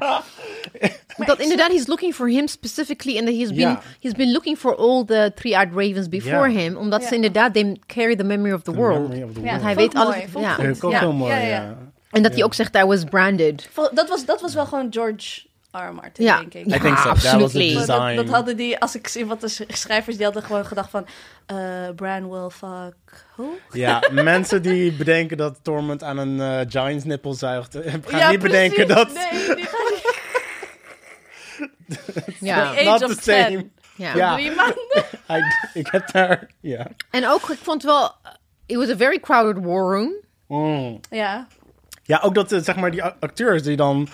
[SPEAKER 2] [LAUGHS] Dat inderdaad, he's looking for him specifically. And that he's been,
[SPEAKER 1] Ja.
[SPEAKER 2] he's been looking for all the three-eyed ravens before
[SPEAKER 1] Ja.
[SPEAKER 2] him. Omdat
[SPEAKER 3] Ja.
[SPEAKER 2] ze inderdaad, they carry the memory of the world.
[SPEAKER 1] Memory of the
[SPEAKER 3] Ja,
[SPEAKER 1] World.
[SPEAKER 2] hij
[SPEAKER 3] vond
[SPEAKER 2] weet
[SPEAKER 3] ik mooi,
[SPEAKER 2] alles-
[SPEAKER 3] vond ik
[SPEAKER 2] ja.
[SPEAKER 3] goed.
[SPEAKER 1] Dat ook heel mooi, ja.
[SPEAKER 2] En dat hij ook zegt, I was branded.
[SPEAKER 3] Vol- Dat was, dat was wel gewoon George R. R. Martin,
[SPEAKER 2] Ja.
[SPEAKER 3] denk ik.
[SPEAKER 2] Ja.
[SPEAKER 1] I think so. That was the
[SPEAKER 2] absolutely.
[SPEAKER 3] Dat,
[SPEAKER 1] design.
[SPEAKER 3] Ah, dat- dat hadden die, als ik zie wat de sch- schrijvers, die hadden gewoon gedacht van... eh Bran will fuck who?
[SPEAKER 1] Ja, mensen die bedenken dat Torment aan een eh, Giants nippel zuigt, eh, gaan
[SPEAKER 3] Ja,
[SPEAKER 1] niet bedenken
[SPEAKER 3] precies.
[SPEAKER 1] dat...
[SPEAKER 3] Nee, die gaan niet.
[SPEAKER 2] Ja.
[SPEAKER 3] [LAUGHS] Age
[SPEAKER 1] Not
[SPEAKER 3] of
[SPEAKER 1] the
[SPEAKER 3] 10.
[SPEAKER 1] same.
[SPEAKER 2] Ja.
[SPEAKER 1] Ja.
[SPEAKER 3] Drie maanden.
[SPEAKER 1] I, ik heb daar... Ja.
[SPEAKER 2] En ook, ik vond wel... eh, It was a very crowded war room.
[SPEAKER 1] Mm.
[SPEAKER 3] Ja.
[SPEAKER 1] Ja, ook dat eh, zeg maar die a- acteurs die dan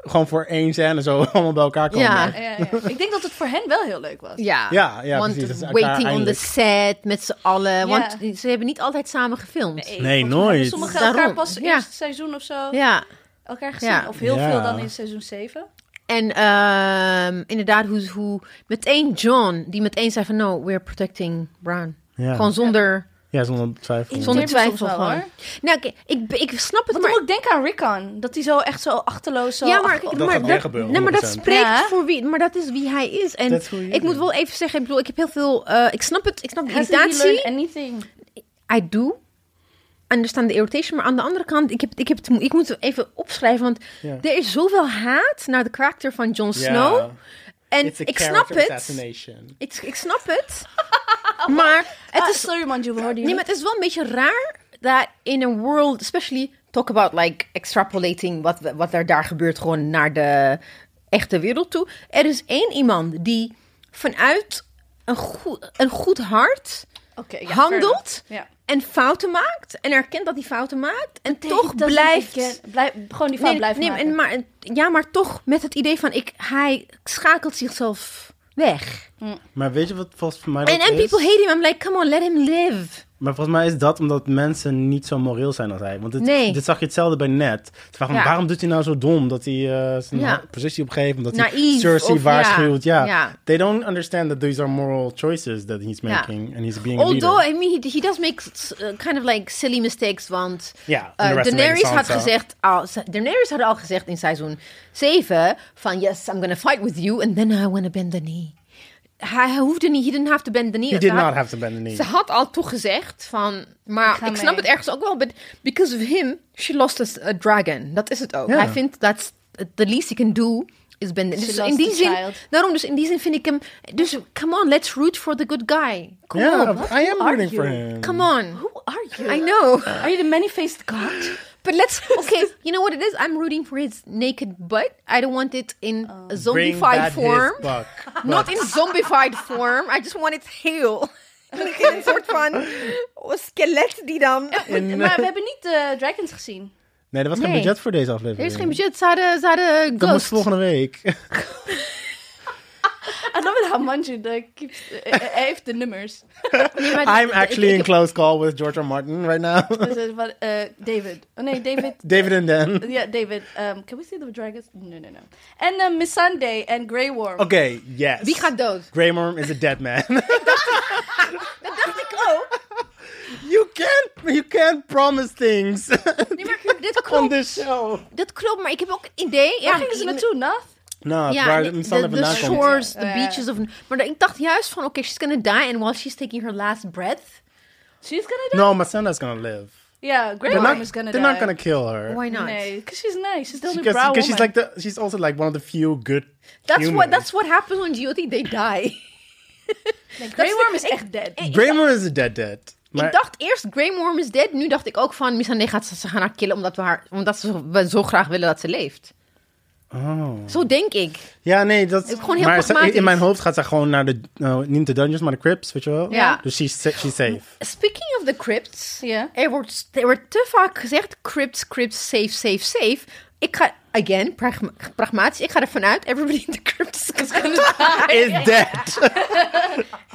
[SPEAKER 1] gewoon voor één scène zo [LAUGHS] allemaal bij elkaar komen.
[SPEAKER 2] Ja.
[SPEAKER 3] Ja, ja. Ik denk dat het voor hen wel heel leuk was.
[SPEAKER 2] Ja,
[SPEAKER 1] Ja, ja,
[SPEAKER 2] want
[SPEAKER 1] precies. Dus elkaar
[SPEAKER 2] waiting on the
[SPEAKER 1] eindelijk.
[SPEAKER 2] set met z'n allen.
[SPEAKER 3] Ja.
[SPEAKER 2] Want ze hebben niet altijd samen gefilmd.
[SPEAKER 1] Nee,
[SPEAKER 3] volgens mij hebben
[SPEAKER 1] nooit.
[SPEAKER 3] Sommigen
[SPEAKER 2] Daarom,
[SPEAKER 3] elkaar pas
[SPEAKER 2] ja.
[SPEAKER 3] eerste seizoen of zo
[SPEAKER 2] Ja,
[SPEAKER 3] elkaar gezien.
[SPEAKER 2] Ja.
[SPEAKER 3] Of heel
[SPEAKER 1] Ja.
[SPEAKER 3] veel dan in seizoen 7.
[SPEAKER 2] en ehm, inderdaad, hoe, hoe meteen John, die meteen zei van no, we're protecting Brown.
[SPEAKER 1] Ja.
[SPEAKER 2] Gewoon zonder,
[SPEAKER 1] Ja, zonder twijfel.
[SPEAKER 3] Ik-
[SPEAKER 2] zonder
[SPEAKER 3] heb het soms
[SPEAKER 2] twijfel.
[SPEAKER 3] wel,
[SPEAKER 2] gewoon.
[SPEAKER 3] hoor.
[SPEAKER 2] Nou, ik, ik, ik snap het,
[SPEAKER 3] Want dan
[SPEAKER 2] maar
[SPEAKER 3] moet ik denken aan Rickon. Dat hij zo echt zo achterloos zo...
[SPEAKER 2] ja, maar,
[SPEAKER 3] achter-
[SPEAKER 1] gaat
[SPEAKER 2] maar,
[SPEAKER 1] weer gebeuren,
[SPEAKER 2] nee, maar dat
[SPEAKER 1] 100%.
[SPEAKER 2] spreekt
[SPEAKER 3] Ja.
[SPEAKER 2] voor wie, maar dat is wie hij is. En
[SPEAKER 1] Dat is hoe je
[SPEAKER 2] ik moet
[SPEAKER 1] bent.
[SPEAKER 2] wel even zeggen, ik bedoel, ik heb heel veel, eh, ik snap het, ik snap de
[SPEAKER 3] Hasn't he
[SPEAKER 2] irritatie.
[SPEAKER 3] learned anything?
[SPEAKER 2] I do understand the irritation. Maar aan de andere kant, ik, heb, ik, heb het, mo- ik moet het even opschrijven. Want
[SPEAKER 1] Ja.
[SPEAKER 2] er is zoveel haat naar de karakter van Jon Snow. En
[SPEAKER 1] It's a
[SPEAKER 2] ik snap
[SPEAKER 1] character
[SPEAKER 2] het.
[SPEAKER 1] assassination.
[SPEAKER 2] Ik, ik snap het. [LAUGHS] maar het
[SPEAKER 3] Ah,
[SPEAKER 2] is,
[SPEAKER 3] sorry man, je hoorde je
[SPEAKER 2] nee, maar het is wel een beetje raar dat in een world, especially talk about like extrapolating wat, we- wat er daar gebeurt gewoon naar de echte wereld toe. Er is één iemand die vanuit een goed, een goed hart
[SPEAKER 3] Oké, ja,
[SPEAKER 2] handelt
[SPEAKER 3] fair enough. Ja.
[SPEAKER 2] en fouten maakt en erkent dat hij fouten maakt en toch
[SPEAKER 3] It doesn't
[SPEAKER 2] blijft
[SPEAKER 3] again- blijf- gewoon die eh, fout
[SPEAKER 2] nee,
[SPEAKER 3] blijven
[SPEAKER 2] nee,
[SPEAKER 3] maken.
[SPEAKER 2] en maar ja maar toch met het idee van ik hij schakelt zichzelf weg
[SPEAKER 1] Maar weet je wat volgens mij
[SPEAKER 2] And,
[SPEAKER 1] dat
[SPEAKER 2] and
[SPEAKER 1] is?
[SPEAKER 2] people hate him. I'm like, come on, let him live.
[SPEAKER 1] Maar volgens mij is dat omdat mensen niet zo moreel zijn als hij. Want dit,
[SPEAKER 2] Nee.
[SPEAKER 1] dit zag je hetzelfde bij net. Ze vragen,
[SPEAKER 2] Ja.
[SPEAKER 1] waarom doet hij nou zo dom? Dat hij eh, zijn
[SPEAKER 2] Ja.
[SPEAKER 1] positie opgeeft, omdat hij
[SPEAKER 2] Naïef,
[SPEAKER 1] Cersei
[SPEAKER 2] of- ja.
[SPEAKER 1] waarschuwt. Ja.
[SPEAKER 2] Ja.
[SPEAKER 1] They don't understand that these are moral choices that he's
[SPEAKER 2] Ja.
[SPEAKER 1] making. And he's being a
[SPEAKER 2] Although, eh,
[SPEAKER 1] leader.
[SPEAKER 2] I mean, he, he does make s- uh, kind of like silly mistakes, want...
[SPEAKER 1] Ja,
[SPEAKER 2] eh,
[SPEAKER 1] underestimated
[SPEAKER 2] Daenerys had
[SPEAKER 1] Sansa.
[SPEAKER 2] gezegd, al, Daenerys had al gezegd in seizoen 7 van yes, I'm gonna fight with you and then I wanna bend the knee. Hij, hij hoefde niet, he didn't have to bend the knee.
[SPEAKER 1] He
[SPEAKER 2] Ze
[SPEAKER 1] did
[SPEAKER 2] had-
[SPEAKER 1] not have to bend the knee.
[SPEAKER 2] Ze had al toegezegd van, maar
[SPEAKER 3] Ik ga
[SPEAKER 2] ik, snap
[SPEAKER 3] mee.
[SPEAKER 2] het ergens ook wel, but because of him, she lost a, s- a dragon. Dat is het ook.
[SPEAKER 1] Ja.
[SPEAKER 2] Hij vindt dat the least he can do is bend the
[SPEAKER 3] She
[SPEAKER 2] Dus
[SPEAKER 3] lost
[SPEAKER 2] in die
[SPEAKER 3] the
[SPEAKER 2] zin,
[SPEAKER 3] child.
[SPEAKER 2] daarom dus in die zin vind ik hem, dus come on, let's root for the good guy. Kom
[SPEAKER 1] Ja,
[SPEAKER 2] op.
[SPEAKER 1] I am
[SPEAKER 3] are
[SPEAKER 1] rooting for
[SPEAKER 3] you?
[SPEAKER 1] him.
[SPEAKER 2] Come on.
[SPEAKER 3] Who are you?
[SPEAKER 2] I
[SPEAKER 3] [LAUGHS]
[SPEAKER 2] know.
[SPEAKER 3] Are you the many-faced god?
[SPEAKER 2] [LAUGHS] But let's okay. You know what it is? I'm rooting for his naked butt. I don't want it in a
[SPEAKER 1] Bring that
[SPEAKER 2] zombified
[SPEAKER 1] his
[SPEAKER 2] form.
[SPEAKER 1] buck.
[SPEAKER 2] Not in zombified form. I just want it heel. Een soort van skelet die dan.
[SPEAKER 1] In-
[SPEAKER 2] eh,
[SPEAKER 3] Maar we hebben niet de dragons gezien.
[SPEAKER 1] Nee, er was geen
[SPEAKER 2] Nee.
[SPEAKER 1] budget voor deze aflevering.
[SPEAKER 2] Er is geen budget. Ze hadden, ze hadden
[SPEAKER 1] Dat Er moest
[SPEAKER 2] ghost.
[SPEAKER 1] volgende week.
[SPEAKER 3] I love it how Manju the keeps, eh, eh, hij heeft de nummers.
[SPEAKER 2] Nee, maar
[SPEAKER 1] I'm
[SPEAKER 2] ik-
[SPEAKER 1] actually
[SPEAKER 2] ik-
[SPEAKER 1] in close call with George R. Martin right now. [LAUGHS]
[SPEAKER 3] Dus, eh, wat, eh, David. Oh nee,
[SPEAKER 2] [LAUGHS]
[SPEAKER 3] David.
[SPEAKER 1] David en Dan.
[SPEAKER 3] Ja, David. Um, can we see the dragons? No, no, no. En eh, Miss Sunday en Grey Worm.
[SPEAKER 1] Oké, yes.
[SPEAKER 2] Wie
[SPEAKER 1] [LAUGHS]
[SPEAKER 2] gaat dood?
[SPEAKER 1] Grey Worm is a dead man.
[SPEAKER 2] Dat dacht ik ook.
[SPEAKER 1] you can't, you can't promise things [LAUGHS]
[SPEAKER 2] Nee, maar dit
[SPEAKER 1] on
[SPEAKER 2] klopt.
[SPEAKER 1] this show.
[SPEAKER 2] Dat klopt, maar ik heb ook het idee.
[SPEAKER 3] Waar
[SPEAKER 2] Ja,
[SPEAKER 3] gingen ze
[SPEAKER 2] ik-
[SPEAKER 3] naartoe? Nath?
[SPEAKER 1] Nou,
[SPEAKER 2] Ja,
[SPEAKER 1] waar
[SPEAKER 2] nee,
[SPEAKER 1] het
[SPEAKER 2] de,
[SPEAKER 1] standaard
[SPEAKER 2] de
[SPEAKER 1] vandaan komt.
[SPEAKER 2] shores, the
[SPEAKER 3] Ja, ja.
[SPEAKER 2] beaches. Of, maar ik dacht juist van, oké, she's gonna die. And while she's taking her last breath,
[SPEAKER 3] She's gonna die?
[SPEAKER 1] No, Masanda's gonna live.
[SPEAKER 3] Yeah, Grey
[SPEAKER 1] They're
[SPEAKER 3] Worm
[SPEAKER 1] not,
[SPEAKER 3] is gonna
[SPEAKER 1] they're
[SPEAKER 3] die.
[SPEAKER 1] not gonna kill her.
[SPEAKER 2] why not?
[SPEAKER 3] Nee, because she's nice. She's the only brown woman.
[SPEAKER 1] Because she's like the, she's also like one of the few good
[SPEAKER 2] That's what
[SPEAKER 1] humans.
[SPEAKER 2] that's what happens on GOT. They die. [LAUGHS]
[SPEAKER 3] Nee, Grey
[SPEAKER 2] that's-
[SPEAKER 3] Worm is
[SPEAKER 2] ik-
[SPEAKER 3] echt dead.
[SPEAKER 1] Grey Worm is a dead dead. Maar
[SPEAKER 2] ik dacht eerst Grey Worm is dead. Nu dacht ik ook van Missandei gaat ze, ze gaan haar killen omdat we haar omdat ze, we zo graag willen dat ze leeft.
[SPEAKER 1] Oh.
[SPEAKER 2] Zo denk ik.
[SPEAKER 1] Ja, nee, dat is
[SPEAKER 2] gewoon heel
[SPEAKER 1] maar ze-
[SPEAKER 2] pragmatisch.
[SPEAKER 1] in mijn hoofd gaat ze gewoon naar de, nou, niet de dungeons, maar de crypts, weet je wel?
[SPEAKER 2] Ja.
[SPEAKER 1] Dus she's, sa- she's safe.
[SPEAKER 2] Speaking of the crypts,
[SPEAKER 3] Ja.
[SPEAKER 2] er, wordt, er wordt te vaak gezegd crypts, crypts, safe, safe, safe. Ik ga again pragma- pragmatisch. Ik ga ervan uit everybody in the crypts is gonna die.
[SPEAKER 1] Is dead.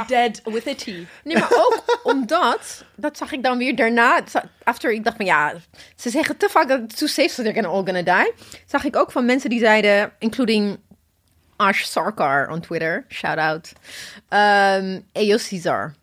[SPEAKER 3] Dead with a T.
[SPEAKER 2] Nee, maar
[SPEAKER 3] [LAUGHS]
[SPEAKER 2] ook omdat, dat zag ik dan weer daarna, after ik dacht van ja, ze zeggen te vaak dat too safe so they're gonna all gonna die. Zag ik ook van mensen die zeiden, including Ash Sarkar on Twitter, shout out, Ehm Eo Caesar.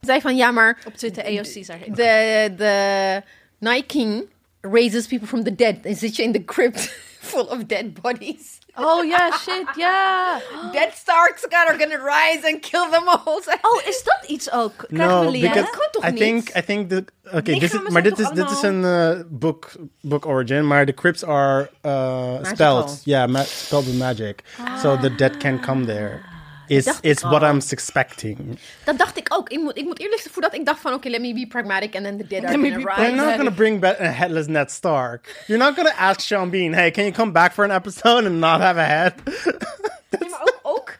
[SPEAKER 2] Zei van ja, maar
[SPEAKER 3] Op Twitter, AOC Caesar.
[SPEAKER 2] de, de Night King raises people from the dead en zit je in de crypt [LAUGHS] full of dead
[SPEAKER 3] [GASPS]
[SPEAKER 2] bodies.
[SPEAKER 3] Oh ja, shit, ja.
[SPEAKER 2] Dead Starks are gonna rise and kill them all.
[SPEAKER 3] Oh, is dat iets ook? Krijgen
[SPEAKER 1] No,
[SPEAKER 3] we Liana?
[SPEAKER 1] because
[SPEAKER 2] Dat kan toch
[SPEAKER 1] I
[SPEAKER 2] niet?
[SPEAKER 1] think, I think, the, oké, dit is,
[SPEAKER 3] Lichamen
[SPEAKER 1] maar
[SPEAKER 3] zijn
[SPEAKER 1] dit is,
[SPEAKER 3] toch
[SPEAKER 1] dit is een eh, book, book origin, maar de crypts are uh, spelled. Ja, ma spelled with magic. So the dead can come there. Is,
[SPEAKER 2] Ah, dacht
[SPEAKER 1] is
[SPEAKER 2] al.
[SPEAKER 1] what I'm expecting.
[SPEAKER 2] Dat dacht ik ook. Ik moet, ik moet eerlijk zeggen, voordat ik dacht van... Oké, let me be pragmatic and then the dead are
[SPEAKER 3] Let me
[SPEAKER 2] gonna
[SPEAKER 3] be
[SPEAKER 2] rise.
[SPEAKER 1] They're
[SPEAKER 3] pragmatic.
[SPEAKER 1] not gonna bring back a headless Ned Stark. You're not gonna ask Sean Bean, hey, can you come back for an episode and not have a head?
[SPEAKER 2] Nee, maar ook, ook...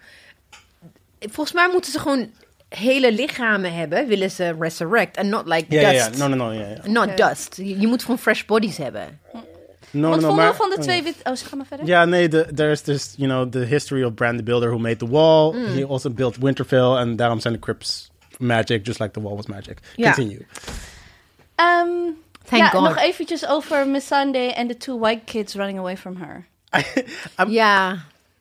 [SPEAKER 2] Volgens mij moeten ze gewoon hele lichamen hebben. Willen ze resurrect. And not like
[SPEAKER 1] Ja, ja, ja.
[SPEAKER 2] dust.
[SPEAKER 1] No, no, no. ja, ja.
[SPEAKER 2] Not dust. Je, je moet gewoon fresh bodies hebben.
[SPEAKER 1] No,
[SPEAKER 3] Wat
[SPEAKER 1] no, no.
[SPEAKER 3] vonden
[SPEAKER 1] maar-
[SPEAKER 3] we van de
[SPEAKER 1] oh,
[SPEAKER 3] twee wit... Oh, ze gaan maar verder.
[SPEAKER 1] Yeah, nee, the, there's this, you know, the history of Brand the Builder who made the wall.
[SPEAKER 3] Mm.
[SPEAKER 1] He also built Winterfell, and daarom zijn de crypts magic, just like the wall was magic.
[SPEAKER 2] Ja.
[SPEAKER 3] [LAUGHS]
[SPEAKER 1] Continue.
[SPEAKER 3] Ehm,
[SPEAKER 2] Thank
[SPEAKER 3] ja,
[SPEAKER 2] God.
[SPEAKER 3] nog eventjes over Miss Sunday and the two white kids running away from her.
[SPEAKER 1] I'm-
[SPEAKER 2] Ja.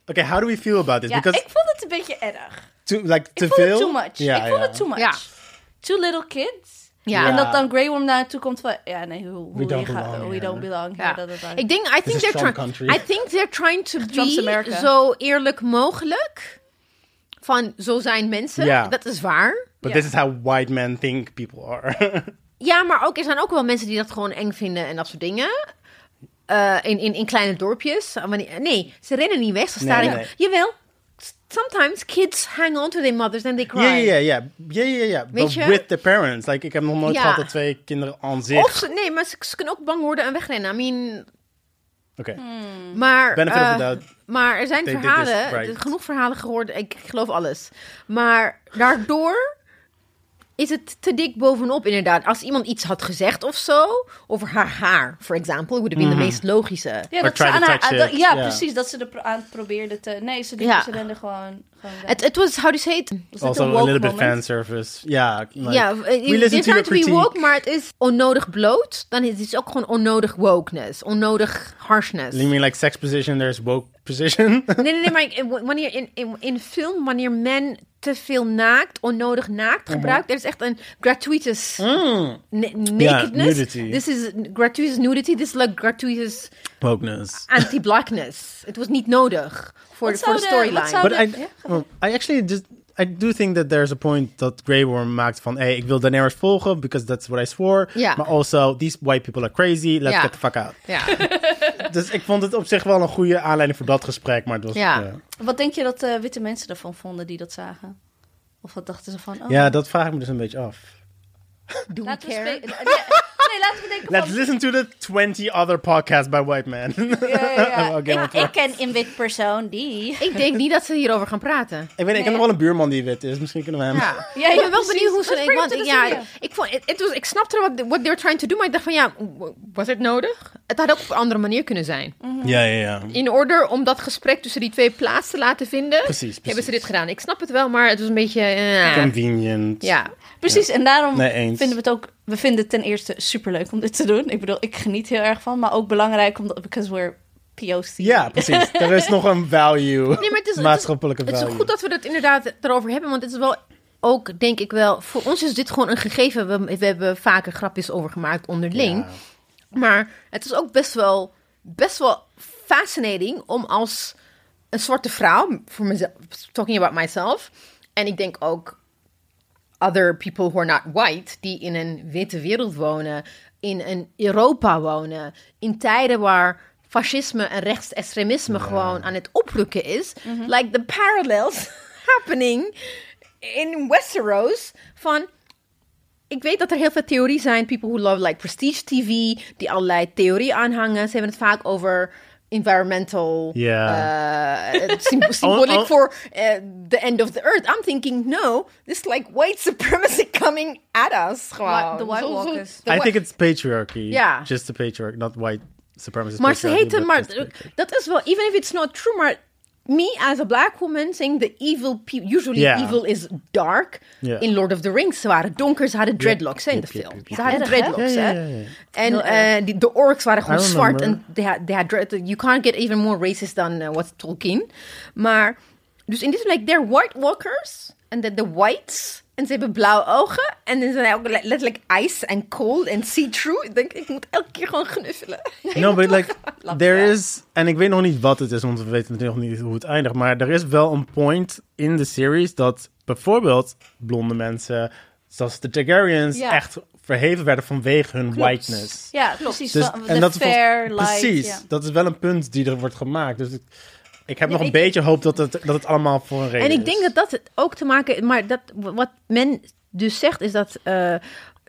[SPEAKER 1] Okay, how do we feel about this?
[SPEAKER 3] Ja,
[SPEAKER 1] because
[SPEAKER 3] ik vond het een beetje erg.
[SPEAKER 1] too, like,
[SPEAKER 3] Ik
[SPEAKER 1] te
[SPEAKER 3] vond
[SPEAKER 1] veel?
[SPEAKER 3] het too much.
[SPEAKER 1] Ja,
[SPEAKER 3] ik vond
[SPEAKER 1] ja.
[SPEAKER 3] het too much.
[SPEAKER 2] Ja.
[SPEAKER 3] Two little kids.
[SPEAKER 2] Ja.
[SPEAKER 3] En dat dan Grey Worm naar haar toe komt van... Ja, nee, hoe, hoe
[SPEAKER 1] don't
[SPEAKER 3] je gaat-
[SPEAKER 1] belong
[SPEAKER 3] we
[SPEAKER 1] here.
[SPEAKER 3] don't belong.
[SPEAKER 2] Ja.
[SPEAKER 3] Ja, dat, dat, dat.
[SPEAKER 2] Ik denk, I think,
[SPEAKER 1] is
[SPEAKER 2] they're
[SPEAKER 1] Trump
[SPEAKER 2] trying,
[SPEAKER 1] country.
[SPEAKER 2] I think they're trying to
[SPEAKER 3] Trump's
[SPEAKER 2] be
[SPEAKER 3] America.
[SPEAKER 2] zo eerlijk mogelijk. Van, zo zijn mensen.
[SPEAKER 1] Ja.
[SPEAKER 2] Dat is waar.
[SPEAKER 1] But
[SPEAKER 3] Ja.
[SPEAKER 1] this is how white men think people are. [LAUGHS]
[SPEAKER 2] Ja, maar ook, er zijn ook wel mensen die dat gewoon eng vinden en dat soort dingen. Eh, in, in, in kleine dorpjes. Maar nee, nee, ze rennen niet weg. Ze staan
[SPEAKER 1] Nee,
[SPEAKER 2] in-
[SPEAKER 1] nee.
[SPEAKER 2] Jawel, sometimes kids hang on to their mothers and they cry.
[SPEAKER 1] Ja, ja, ja, ja. Ja, ja, ja. But
[SPEAKER 2] je?
[SPEAKER 1] with the parents. Like, ik heb nog nooit
[SPEAKER 2] Ja.
[SPEAKER 1] gehad dat twee kinderen aan zich...
[SPEAKER 2] Of ze, nee, maar ze, ze kunnen ook bang worden en wegrennen. I mean,
[SPEAKER 1] Oké.
[SPEAKER 3] Hmm.
[SPEAKER 2] maar...
[SPEAKER 1] Benefit of
[SPEAKER 2] eh,
[SPEAKER 1] the doubt.
[SPEAKER 2] Maar er zijn
[SPEAKER 1] They did this
[SPEAKER 2] verhalen,
[SPEAKER 1] right.
[SPEAKER 2] er zijn genoeg verhalen gehoord. Ik geloof alles. Maar daardoor is het te dik bovenop, inderdaad. Als iemand iets had gezegd of zo, over haar haar, for example, would have been de
[SPEAKER 1] Mm.
[SPEAKER 2] meest logische.
[SPEAKER 3] Ja,
[SPEAKER 1] Or
[SPEAKER 3] dat ze
[SPEAKER 1] try to
[SPEAKER 3] aan haar,
[SPEAKER 1] touch
[SPEAKER 3] aan- dat-
[SPEAKER 1] it,
[SPEAKER 3] ja,
[SPEAKER 1] ja.
[SPEAKER 3] precies. Dat ze er pro- aan probeerde te... Nee, ze, liep,
[SPEAKER 2] Ja.
[SPEAKER 3] ze rende gewoon... gewoon weg.
[SPEAKER 2] Het het was, how do you say it?
[SPEAKER 3] Was dit
[SPEAKER 1] Also
[SPEAKER 3] een
[SPEAKER 1] a
[SPEAKER 3] woke
[SPEAKER 1] little bit
[SPEAKER 3] moment? eh,
[SPEAKER 1] fan service. Ja, like,
[SPEAKER 2] ja,
[SPEAKER 1] we
[SPEAKER 2] het
[SPEAKER 1] listen
[SPEAKER 2] is
[SPEAKER 1] to
[SPEAKER 2] not
[SPEAKER 1] your
[SPEAKER 2] to be
[SPEAKER 1] critique.
[SPEAKER 2] woke, maar het is onnodig bloot. Dan is het ook gewoon onnodig wokeness, onnodig harshness.
[SPEAKER 1] You mean like sex position, there's woke position?
[SPEAKER 2] Nee, nee, nee, maar ik- eh, wanneer in, in, in film, wanneer men te veel naakt, onnodig
[SPEAKER 1] Mhm.
[SPEAKER 2] naakt gebruikt, er is echt een gratuitous ne- nakedness.
[SPEAKER 1] nudity.
[SPEAKER 2] This is gratuitous nudity, this is like gratuitous
[SPEAKER 1] [LAUGHS] Wokeness.
[SPEAKER 2] anti-blackness. [LAUGHS] Het was niet nodig voor de
[SPEAKER 3] Wat
[SPEAKER 2] voor de
[SPEAKER 3] zou de-
[SPEAKER 2] storyline.
[SPEAKER 3] wat zou
[SPEAKER 1] But I,
[SPEAKER 3] Yeah.
[SPEAKER 1] well, I actually just I do think that there's a point that Grey Worm maakt van hey, ik wil Daenerys volgen because that's what I swore.
[SPEAKER 2] Ja.
[SPEAKER 1] Maar also these white people are crazy. Let's
[SPEAKER 2] Ja.
[SPEAKER 1] get the fuck out.
[SPEAKER 3] [LAUGHS]
[SPEAKER 2] Ja.
[SPEAKER 1] Dus ik vond het op zich wel een goede aanleiding voor dat gesprek, maar het was
[SPEAKER 2] Ja.
[SPEAKER 1] ja, ja.
[SPEAKER 3] Wat denk je dat eh, witte mensen ervan vonden die dat zagen? Of wat dachten ze van... Oh,
[SPEAKER 1] dat vraag ik me dus een beetje af.
[SPEAKER 2] Do we
[SPEAKER 3] laten we
[SPEAKER 2] care?
[SPEAKER 3] spe- [LAUGHS] nee, nee, laten we denken
[SPEAKER 1] Let's
[SPEAKER 3] van...
[SPEAKER 1] listen to the 20 other podcasts by white [LAUGHS] men.
[SPEAKER 3] Ja, ja, eh, ja.
[SPEAKER 1] Oh, Oké,
[SPEAKER 3] Ik-
[SPEAKER 1] want-
[SPEAKER 3] ik ken een wit persoon die...
[SPEAKER 2] Ik denk niet dat ze hierover gaan praten.
[SPEAKER 1] ik weet, ik heb nog wel een buurman die wit is. Misschien kunnen we hem.
[SPEAKER 2] Ja.
[SPEAKER 3] Ja,
[SPEAKER 2] ik
[SPEAKER 3] ja,
[SPEAKER 2] ben wel
[SPEAKER 3] precies.
[SPEAKER 2] benieuwd hoe
[SPEAKER 3] Let's
[SPEAKER 2] ze. Ik,
[SPEAKER 3] bring it
[SPEAKER 2] want,
[SPEAKER 3] to the
[SPEAKER 2] ja,
[SPEAKER 3] studio.
[SPEAKER 2] ik, vond, het, het was, ik snapte wat what they were trying to do, maar ik dacht van ja, w- was het nodig? Het had ook op een andere manier kunnen zijn.
[SPEAKER 1] ja, ja. ja.
[SPEAKER 2] In orde om dat gesprek tussen die twee plaats te laten vinden,
[SPEAKER 1] Precies, precies.
[SPEAKER 2] hebben ze dit gedaan. Ik snap het wel, maar het was een beetje. eh,
[SPEAKER 1] Convenient.
[SPEAKER 2] ja.
[SPEAKER 3] Precies, en daarom
[SPEAKER 1] Nee, eens.
[SPEAKER 3] vinden we het ook... We vinden het ten eerste superleuk om dit te doen. Ik bedoel, ik geniet heel erg van. Maar ook belangrijk omdat... Because we're POC.
[SPEAKER 1] Ja, precies. Er is nog een value.
[SPEAKER 2] Nee, maar het is,
[SPEAKER 1] maatschappelijke
[SPEAKER 2] het is, het is
[SPEAKER 1] value.
[SPEAKER 2] goed dat we het inderdaad erover hebben, want het is wel ook, denk ik wel, voor ons is dit gewoon een gegeven. We, we hebben vaker grapjes over gemaakt onderling.
[SPEAKER 1] Ja.
[SPEAKER 2] Maar het is ook best wel, best wel fascinating om als een zwarte vrouw, voor mezelf, talking about myself, en ik denk ook other people who are not white, die in een witte wereld wonen, in een Europa wonen, in tijden waar fascisme en rechtsextremisme gewoon aan het oprukken is, like the parallels [LAUGHS] happening in Westeros van ik weet dat er heel veel theorieën zijn. People who love like prestige TV, die allerlei theorieën aanhangen. Ze hebben het vaak over environmental
[SPEAKER 1] [LAUGHS] Ja.
[SPEAKER 2] eh, symb- symbolic
[SPEAKER 1] oh.
[SPEAKER 2] for eh, the end of the earth. I'm thinking, no, this is like white supremacy [LAUGHS] coming at us. Gewoon.
[SPEAKER 3] Wa- the White
[SPEAKER 2] Zo- zo-
[SPEAKER 3] Walkers.
[SPEAKER 2] the
[SPEAKER 1] I
[SPEAKER 2] whi-
[SPEAKER 1] think it's patriarchy.
[SPEAKER 2] Ja.
[SPEAKER 1] Just the patriarchy, not white supremacist.
[SPEAKER 2] maar ze
[SPEAKER 1] patriarchy,
[SPEAKER 2] heten,
[SPEAKER 1] but
[SPEAKER 2] maar
[SPEAKER 1] just patriarchy.
[SPEAKER 2] dat is wel, even if it's not true, maar me as a black woman saying the evil people, usually
[SPEAKER 1] Ja.
[SPEAKER 2] evil is dark.
[SPEAKER 1] Ja.
[SPEAKER 2] In Lord of the Rings, ze waren donker, ze hadden dreadlocks hè, in de
[SPEAKER 1] Yep, yep,
[SPEAKER 2] film.
[SPEAKER 1] yep, yep,
[SPEAKER 2] Ze hadden
[SPEAKER 3] Erg, hè?
[SPEAKER 2] dreadlocks,
[SPEAKER 1] Ja, ja,
[SPEAKER 2] hè.
[SPEAKER 1] ja, ja.
[SPEAKER 2] En eh, die- de orks waren gewoon
[SPEAKER 1] I
[SPEAKER 2] zwart. En
[SPEAKER 1] remember.
[SPEAKER 2] they had, they had dread- you can't get even more racist than uh, what Tolkien. Maar, dus in dit like, they're white walkers. En de de whites. En ze hebben blauwe ogen. En ze zijn ook le- letterlijk ice en cold en see-through. Ik denk, ik moet elke keer gewoon gnuffelen.
[SPEAKER 1] No, but
[SPEAKER 2] [LAUGHS]
[SPEAKER 1] like,
[SPEAKER 3] Lachen,
[SPEAKER 1] there
[SPEAKER 3] ja.
[SPEAKER 1] is... En ik weet nog niet wat het is, want we weten natuurlijk nog niet hoe het eindigt. Maar er is wel een point in de series dat bijvoorbeeld blonde mensen, zoals de Targaryens,
[SPEAKER 3] Ja.
[SPEAKER 1] echt verheven werden vanwege hun whiteness.
[SPEAKER 3] Ja, precies.
[SPEAKER 1] Dus-
[SPEAKER 3] van- the
[SPEAKER 1] volgens-
[SPEAKER 3] fair light.
[SPEAKER 1] Precies,
[SPEAKER 3] ja.
[SPEAKER 1] dat is wel een punt die er wordt gemaakt. Dus ik, ik heb
[SPEAKER 3] Ja,
[SPEAKER 1] nog een
[SPEAKER 3] ik-
[SPEAKER 1] beetje hoop dat het, dat het allemaal voor een reden
[SPEAKER 2] En
[SPEAKER 1] is.
[SPEAKER 2] ik denk dat dat het ook te maken... Maar dat, wat men dus zegt is dat eh,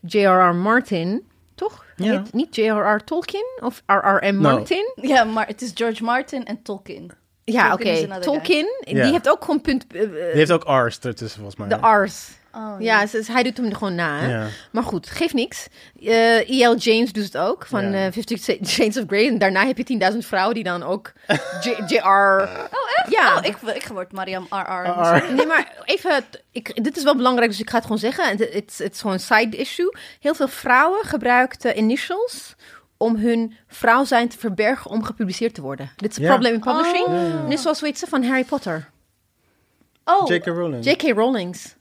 [SPEAKER 2] J.R.R. Martin... Toch? Hij
[SPEAKER 1] Ja.
[SPEAKER 2] heet Niet J.R.R. Tolkien of R.R.M.
[SPEAKER 1] No.
[SPEAKER 2] Martin.
[SPEAKER 3] Ja, maar het is George Martin en Tolkien.
[SPEAKER 2] Ja,
[SPEAKER 3] Tolkien is
[SPEAKER 2] oké.
[SPEAKER 3] another guy.
[SPEAKER 2] Tolkien,
[SPEAKER 1] Ja.
[SPEAKER 2] die heeft ook gewoon punt... eh, eh,
[SPEAKER 1] Die heeft ook R's ertussen, volgens mij.
[SPEAKER 2] De R's.
[SPEAKER 3] Oh,
[SPEAKER 2] ja, dus hij doet hem gewoon na. Hè?
[SPEAKER 1] Ja.
[SPEAKER 2] Maar goed, geeft niks. Eh E.L. James doet het ook, van
[SPEAKER 1] Ja.
[SPEAKER 2] eh, Fifty Shades of Grey. En daarna heb je 10.000 vrouwen die dan ook J- J.R.
[SPEAKER 3] Oh, echt?
[SPEAKER 2] Ja.
[SPEAKER 3] Oh, ik, ik word Mariam R.R.
[SPEAKER 1] R.
[SPEAKER 2] Nee, maar even, t- ik, dit is wel belangrijk, dus ik ga het gewoon zeggen. Het- Het het is gewoon een side issue. Heel veel vrouwen gebruikten initials om hun vrouw zijn te verbergen om gepubliceerd te worden. Dit is een
[SPEAKER 1] Ja.
[SPEAKER 2] probleem in publishing.
[SPEAKER 1] Oh.
[SPEAKER 2] Net zoals, weet ze, van Harry Potter.
[SPEAKER 3] Oh,
[SPEAKER 1] J.K. Rowling.
[SPEAKER 2] J.K. Rowling's.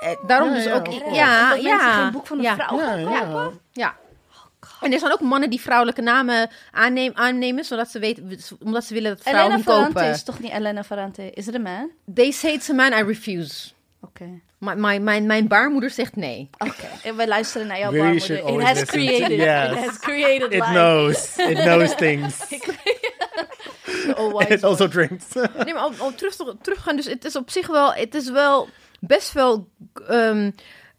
[SPEAKER 2] Eh, daarom
[SPEAKER 1] Ja,
[SPEAKER 2] dus
[SPEAKER 1] ja,
[SPEAKER 2] ook...
[SPEAKER 1] of
[SPEAKER 2] Ja,
[SPEAKER 1] course.
[SPEAKER 2] ja.
[SPEAKER 3] dat mensen geen boek van een
[SPEAKER 2] ja.
[SPEAKER 3] vrouw
[SPEAKER 1] ja,
[SPEAKER 3] gaan
[SPEAKER 1] ja.
[SPEAKER 3] kopen.
[SPEAKER 2] Ja. En er zijn ook mannen die vrouwelijke namen aanneem, aannemen, zodat ze weten, omdat ze willen dat vrouwen
[SPEAKER 3] Elena
[SPEAKER 2] hem
[SPEAKER 3] Ferrante
[SPEAKER 2] kopen.
[SPEAKER 3] is toch niet Elena Ferrante? Is het een man?
[SPEAKER 2] They say it's a man, I refuse.
[SPEAKER 3] Oké.
[SPEAKER 2] My, my, mijn, mijn baarmoeder zegt nee.
[SPEAKER 3] Oké. En Wij luisteren naar jouw
[SPEAKER 1] We
[SPEAKER 3] baarmoeder.
[SPEAKER 1] should
[SPEAKER 3] It
[SPEAKER 1] always
[SPEAKER 3] has
[SPEAKER 1] listen to-
[SPEAKER 3] created.
[SPEAKER 1] Yes.
[SPEAKER 3] It has created
[SPEAKER 1] It
[SPEAKER 3] life.
[SPEAKER 1] knows.
[SPEAKER 2] [LAUGHS]
[SPEAKER 1] It knows things.
[SPEAKER 3] Oh, wise
[SPEAKER 1] It also drinks.
[SPEAKER 2] Nee, maar om, om terug te teruggaan, dus het is op zich wel, het is wel best wel, ehm,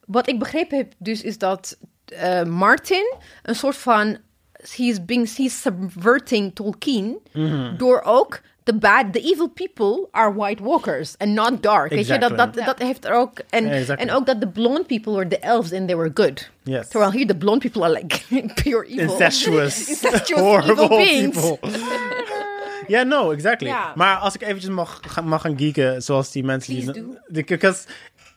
[SPEAKER 2] wat ik begrepen heb dus, is dat eh, Martin een
[SPEAKER 1] Mhm.
[SPEAKER 2] soort van, he is being, he is subverting Tolkien, door ook the bad, the evil people are white walkers and not dark. Weet je, dat,
[SPEAKER 1] Exactly.
[SPEAKER 2] dat, dat heeft er ook. En,
[SPEAKER 1] Ja, exactly.
[SPEAKER 2] en ook dat de blonde people were the elves and they were good.
[SPEAKER 1] Yes.
[SPEAKER 2] Terwijl hier de blonde people are like [LAUGHS] pure evil.
[SPEAKER 1] Incestuous,
[SPEAKER 2] Incestuous
[SPEAKER 1] horrible
[SPEAKER 2] evil beings.
[SPEAKER 1] people. [LAUGHS] Ja, no, exactly.
[SPEAKER 2] Ja.
[SPEAKER 1] Maar als ik eventjes mag, ga- mag gaan geeken, zoals die mensen
[SPEAKER 2] Please
[SPEAKER 1] die... de- because-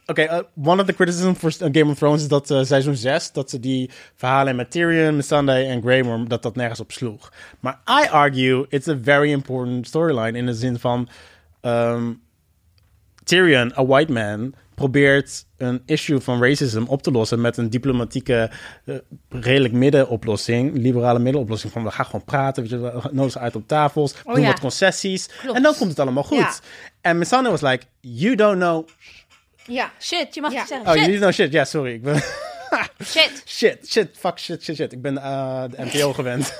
[SPEAKER 1] Oké, eh, one of the criticism voor eh, Game of Thrones is dat eh, seizoen 6, dat ze die verhalen met Tyrion, Missandei en Grey Worm, dat dat nergens op sloeg. Maar I argue, it's a very important storyline in de zin van... ehm, Tyrion, a white man, probeert een issue van racism op te lossen met een diplomatieke, eh, redelijk middenoplossing, liberale middenoplossing. Van we gaan gewoon praten, weet je, we nodig uit op tafels, we doen
[SPEAKER 2] Oh ja.
[SPEAKER 1] wat concessies
[SPEAKER 2] Klopt.
[SPEAKER 1] en dan komt het allemaal goed.
[SPEAKER 2] Ja.
[SPEAKER 1] En Missandei was like, you don't know,
[SPEAKER 2] Ja.
[SPEAKER 3] Shit, je mag
[SPEAKER 2] Ja.
[SPEAKER 3] niet zeggen.
[SPEAKER 1] oh you
[SPEAKER 3] shit,
[SPEAKER 1] don't know shit. Ja, sorry, ik ben
[SPEAKER 3] shit.
[SPEAKER 1] shit, shit, fuck, shit, shit, shit. Ik ben eh, de NPO gewend.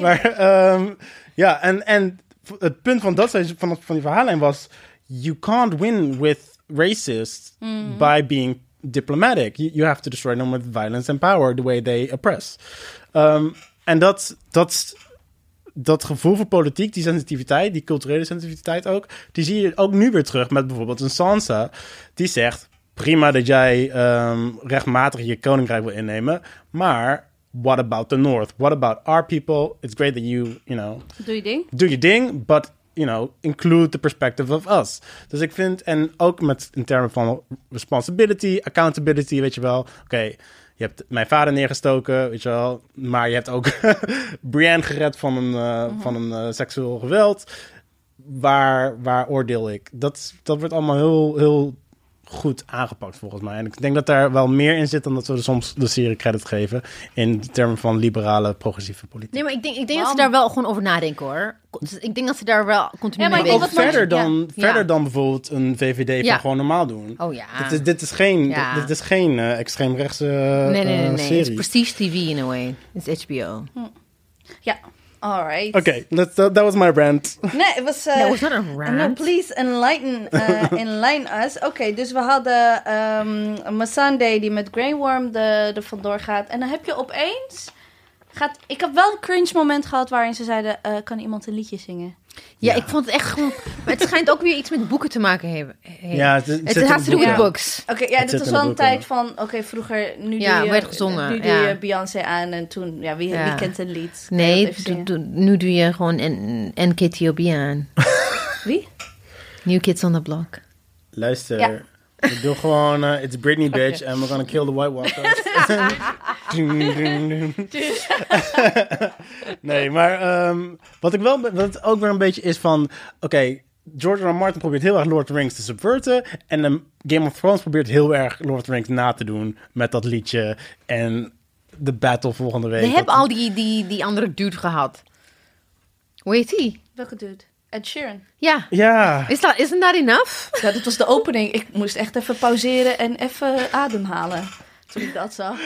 [SPEAKER 1] maar ehm, ja, en, en het punt van, dat, van, dat- van die verhaallijn was... You can't win with racists by being diplomatic. You, you have to destroy them with violence and power, the way they oppress. Ehm, en dat, dat, dat gevoel voor politiek, die sensitiviteit, die culturele sensitiviteit ook, die zie je ook nu weer terug met bijvoorbeeld een Sansa, die zegt: prima dat jij ehm, rechtmatig je koninkrijk wil innemen, maar what about the North? What about our people? It's great that you, you know,
[SPEAKER 3] Doe je ding.
[SPEAKER 1] do your ding, but you know, include the perspective of us. Dus ik vind, en ook met in termen van responsibility, accountability, weet je wel. Oké, je hebt mijn vader neergestoken, weet je wel. Maar je hebt ook [LAUGHS] Brienne gered van een, eh, van een eh, seksueel geweld. Waar, waar oordeel ik? Dat, dat wordt allemaal heel, heel goed aangepakt volgens mij. En ik denk dat daar wel meer in zit dan dat we soms de serie credit geven. In termen van liberale, progressieve politiek.
[SPEAKER 2] Nee, maar ik denk, ik denk dat
[SPEAKER 3] Bam.
[SPEAKER 2] ze daar wel gewoon over nadenken hoor. Dus Ik denk dat ze daar wel continu
[SPEAKER 3] Ja, maar
[SPEAKER 2] mee
[SPEAKER 3] ik
[SPEAKER 1] Maar
[SPEAKER 3] denk
[SPEAKER 1] ook
[SPEAKER 2] bezig
[SPEAKER 3] dat
[SPEAKER 1] verder,
[SPEAKER 3] mensen-
[SPEAKER 1] dan,
[SPEAKER 2] ja.
[SPEAKER 1] verder
[SPEAKER 2] Ja.
[SPEAKER 1] dan bijvoorbeeld een VVD
[SPEAKER 2] Ja.
[SPEAKER 1] van gewoon normaal doen.
[SPEAKER 2] Oh ja.
[SPEAKER 1] Dit is, dit is geen,
[SPEAKER 2] Ja.
[SPEAKER 1] dit, dit is geen eh, extreemrechtse eh,
[SPEAKER 2] Nee, nee, nee.
[SPEAKER 1] eh,
[SPEAKER 2] nee. It's
[SPEAKER 1] serie. Oké,
[SPEAKER 2] prestige TV in a way. It's HBO.
[SPEAKER 3] Ja. Alright.
[SPEAKER 1] let's- that, that was my rant.
[SPEAKER 3] Nee, het was... eh,
[SPEAKER 2] That Nou, was not a
[SPEAKER 3] No,
[SPEAKER 2] rant.
[SPEAKER 3] please
[SPEAKER 1] [LAUGHS]
[SPEAKER 3] enlighten, eh, enlighten us. Oké, dus we hadden ehm Masande die met Grey Worm de, de vandoor gaat. En dan heb je opeens... Gaat, ik heb wel een cringe moment gehad waarin ze zeiden... eh, kan iemand een liedje zingen?
[SPEAKER 2] Ja, ik vond het echt gewoon... Maar het schijnt ook weer iets met boeken te maken hebben. hebben.
[SPEAKER 1] Ja, het- het
[SPEAKER 2] het
[SPEAKER 1] zit in
[SPEAKER 2] has to do
[SPEAKER 1] boeken.
[SPEAKER 2] with books.
[SPEAKER 3] Oké, ja,
[SPEAKER 1] Het
[SPEAKER 3] dit
[SPEAKER 1] zit
[SPEAKER 3] was
[SPEAKER 1] in de
[SPEAKER 3] wel een
[SPEAKER 1] boeken,
[SPEAKER 3] tijd
[SPEAKER 1] ja.
[SPEAKER 3] van... Oké, vroeger, nu
[SPEAKER 2] Ja,
[SPEAKER 3] doe je,
[SPEAKER 2] werd gezongen,
[SPEAKER 3] nu
[SPEAKER 2] ja.
[SPEAKER 3] doe je Beyoncé aan en toen... Ja, wie,
[SPEAKER 2] Ja.
[SPEAKER 3] wie kent een lied? Kan je dat
[SPEAKER 2] Nee,
[SPEAKER 3] even
[SPEAKER 2] doe-
[SPEAKER 3] zingen?
[SPEAKER 2] doe- nu doe je gewoon N- NKTOB
[SPEAKER 1] [LAUGHS]
[SPEAKER 2] aan.
[SPEAKER 3] Wie?
[SPEAKER 2] New Kids on the Block.
[SPEAKER 1] Luister,
[SPEAKER 3] Ja.
[SPEAKER 1] ik doe gewoon, eh, it's Britney bitch and we're gonna kill the White Walkers. [LAUGHS] Ding, ding, ding. nee, maar ehm, wat ik wel, wat ook weer een beetje is van, oké, George R. R. Martin probeert heel erg Lord of the Rings te subverten en ehm, Game of Thrones probeert heel erg Lord of the Rings na te doen met dat liedje en de battle volgende week.
[SPEAKER 2] We hebben
[SPEAKER 1] Dat-
[SPEAKER 2] al die, die, die andere dude gehad. Hoe heet die?
[SPEAKER 3] Welke dude? Ed Sheeran.
[SPEAKER 2] Ja.
[SPEAKER 1] Ja.
[SPEAKER 2] Is dat, isn't that enough?
[SPEAKER 3] Ja, dit was de opening. Ik moest echt even pauzeren en even ademhalen toen ik dat zag.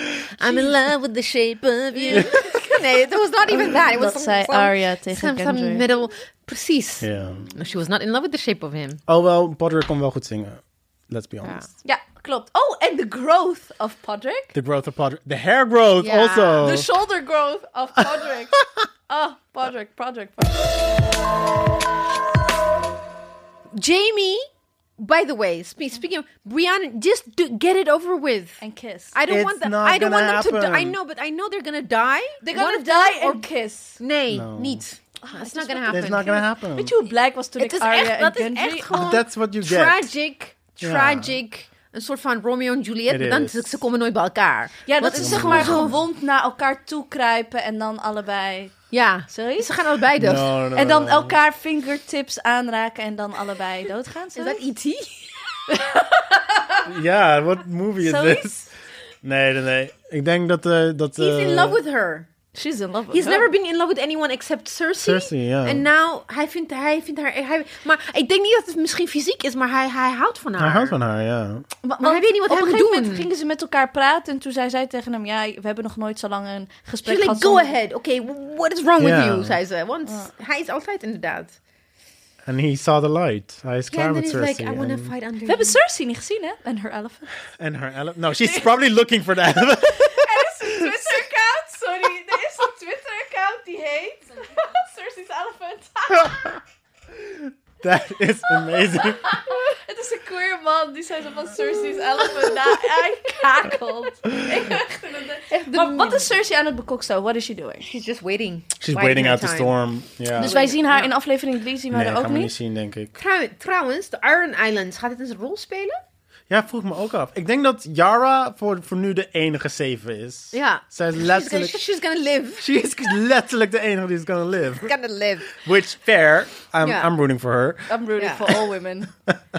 [SPEAKER 2] I'm in love with the shape of you.
[SPEAKER 3] [LAUGHS]
[SPEAKER 2] nee, it was not even that. It was
[SPEAKER 3] Dat
[SPEAKER 2] some,
[SPEAKER 3] zei
[SPEAKER 2] some-
[SPEAKER 3] Arya tegen
[SPEAKER 2] some, some
[SPEAKER 3] Gendry.
[SPEAKER 2] middle... Precies.
[SPEAKER 1] Ja.
[SPEAKER 2] She was not in love with the shape of him.
[SPEAKER 1] Oh wel, Podrick kon wel goed zingen. Let's be honest.
[SPEAKER 3] Ja, klopt. Oh, en de growth of Podrick.
[SPEAKER 1] The growth of Podrick. The hair growth
[SPEAKER 2] Ja.
[SPEAKER 1] also.
[SPEAKER 3] De shoulder growth of
[SPEAKER 1] [LAUGHS]
[SPEAKER 3] Podrick. oh, Podrick, Podrick, Podrick.
[SPEAKER 2] Jamie, by the way, spe- speaking of Brianna, just do, get it over with.
[SPEAKER 3] En kiss.
[SPEAKER 2] I don't
[SPEAKER 1] It's
[SPEAKER 2] want them.
[SPEAKER 1] not
[SPEAKER 2] I don't want
[SPEAKER 1] gonna
[SPEAKER 2] them to.
[SPEAKER 1] happen.
[SPEAKER 2] Die. I know, but I know they're gonna die.
[SPEAKER 3] They're
[SPEAKER 2] One
[SPEAKER 3] gonna
[SPEAKER 2] of
[SPEAKER 3] die
[SPEAKER 2] them
[SPEAKER 3] and kiss.
[SPEAKER 2] Nee,
[SPEAKER 1] No.
[SPEAKER 2] niet. it's
[SPEAKER 3] is
[SPEAKER 2] not gonna
[SPEAKER 3] wat-
[SPEAKER 2] happen.
[SPEAKER 1] It's not gonna happen.
[SPEAKER 3] Weet je hoe blij ik was toen
[SPEAKER 2] Het
[SPEAKER 3] ik
[SPEAKER 2] is
[SPEAKER 3] Arya
[SPEAKER 2] echt.
[SPEAKER 3] en
[SPEAKER 2] Dat is
[SPEAKER 3] Gendry...
[SPEAKER 2] echt gewoon.
[SPEAKER 1] That's what you get.
[SPEAKER 2] Tragic,
[SPEAKER 1] Ja.
[SPEAKER 2] tragic. Een soort van Romeo en Juliet,
[SPEAKER 1] It
[SPEAKER 2] maar dan
[SPEAKER 1] is.
[SPEAKER 2] ze komen nooit bij elkaar.
[SPEAKER 3] Ja, dat
[SPEAKER 2] Wat
[SPEAKER 3] is
[SPEAKER 2] is
[SPEAKER 3] zeg
[SPEAKER 2] gewoon
[SPEAKER 3] maar
[SPEAKER 2] zo-
[SPEAKER 3] gewond naar elkaar toe kruipen en dan allebei...
[SPEAKER 2] Ja,
[SPEAKER 3] Sorry?
[SPEAKER 2] ze gaan allebei dood.
[SPEAKER 1] No, no,
[SPEAKER 3] En
[SPEAKER 1] no,
[SPEAKER 3] dan
[SPEAKER 1] no.
[SPEAKER 3] elkaar fingertips aanraken en dan allebei doodgaan.
[SPEAKER 2] Is dat E E.T.?
[SPEAKER 1] Eh. Ja, what movie is
[SPEAKER 3] Zoiets?
[SPEAKER 1] this? Nee, nee, nee. Ik denk dat... eh dat
[SPEAKER 2] He's in
[SPEAKER 1] eh,
[SPEAKER 2] love with her.
[SPEAKER 3] She's in love with
[SPEAKER 2] He's
[SPEAKER 3] her.
[SPEAKER 2] never been in love with anyone except Cersei.
[SPEAKER 1] Cersei, ja.
[SPEAKER 2] En nou, hij vindt, hij vindt haar... Hij, maar ik denk niet dat het misschien fysiek is, maar hij, hij houdt van haar.
[SPEAKER 1] Hij houdt van haar, ja.
[SPEAKER 3] Maar,
[SPEAKER 2] hij weet niet wat
[SPEAKER 3] op
[SPEAKER 2] hij moet
[SPEAKER 3] een gegeven
[SPEAKER 2] doen.
[SPEAKER 3] moment gingen ze met elkaar praten en toen zei zij tegen hem... Ja, we hebben nog nooit zo lang een gesprek
[SPEAKER 2] She's like,
[SPEAKER 3] gehad.
[SPEAKER 2] go
[SPEAKER 3] zonder-
[SPEAKER 2] ahead. Oké, what is wrong
[SPEAKER 1] Ja.
[SPEAKER 2] with you, zei ze. Want hij is altijd inderdaad.
[SPEAKER 1] En he saw the light. Hij is
[SPEAKER 2] Ja,
[SPEAKER 1] klaar
[SPEAKER 2] en dan
[SPEAKER 1] met
[SPEAKER 2] is like,
[SPEAKER 1] Cersei.
[SPEAKER 2] I wanna
[SPEAKER 1] en-
[SPEAKER 2] fight under
[SPEAKER 3] We hebben Cersei niet gezien, hè? En her [LAUGHS] elephant.
[SPEAKER 1] En haar ele- No, she's probably looking for that. elephant.
[SPEAKER 3] Er is een [LAUGHS] Twitter-account, sorry. Er is een Twitter-account die heet... Cersei's elephant.
[SPEAKER 1] [LAUGHS]
[SPEAKER 3] [LAUGHS]
[SPEAKER 1] That is amazing.
[SPEAKER 3] Het is een queer man die zijn zo van Cersei's elephant na aankakelt. [LAUGHS] Ik ben echt in de- Maar wat is Cersei aan het bekokstoven? What is she doing?
[SPEAKER 2] She's just waiting.
[SPEAKER 1] She's waiting
[SPEAKER 2] her
[SPEAKER 1] out the
[SPEAKER 2] time.
[SPEAKER 1] storm. Ja.
[SPEAKER 3] Dus wij zien haar in aflevering 3, zien we
[SPEAKER 1] nee, dat
[SPEAKER 3] haar er ook
[SPEAKER 1] gaan we niet
[SPEAKER 3] niet.
[SPEAKER 1] zien, denk ik.
[SPEAKER 2] Trou- Trouwens, de Iron Islands, gaat dit eens een rol spelen?
[SPEAKER 1] Ja, vroeg me ook af. Ik denk dat Yara voor, voor nu de enige safe is.
[SPEAKER 2] Ja.
[SPEAKER 1] Zij is
[SPEAKER 2] She's gonna,
[SPEAKER 1] letterlijk...
[SPEAKER 2] she's gonna live.
[SPEAKER 1] She is letterlijk de enige die is gonna live.
[SPEAKER 2] Gonna live.
[SPEAKER 1] Which, fair. I'm,
[SPEAKER 2] Ja.
[SPEAKER 1] I'm rooting for her.
[SPEAKER 3] I'm rooting
[SPEAKER 2] Ja.
[SPEAKER 3] for all women. [LAUGHS]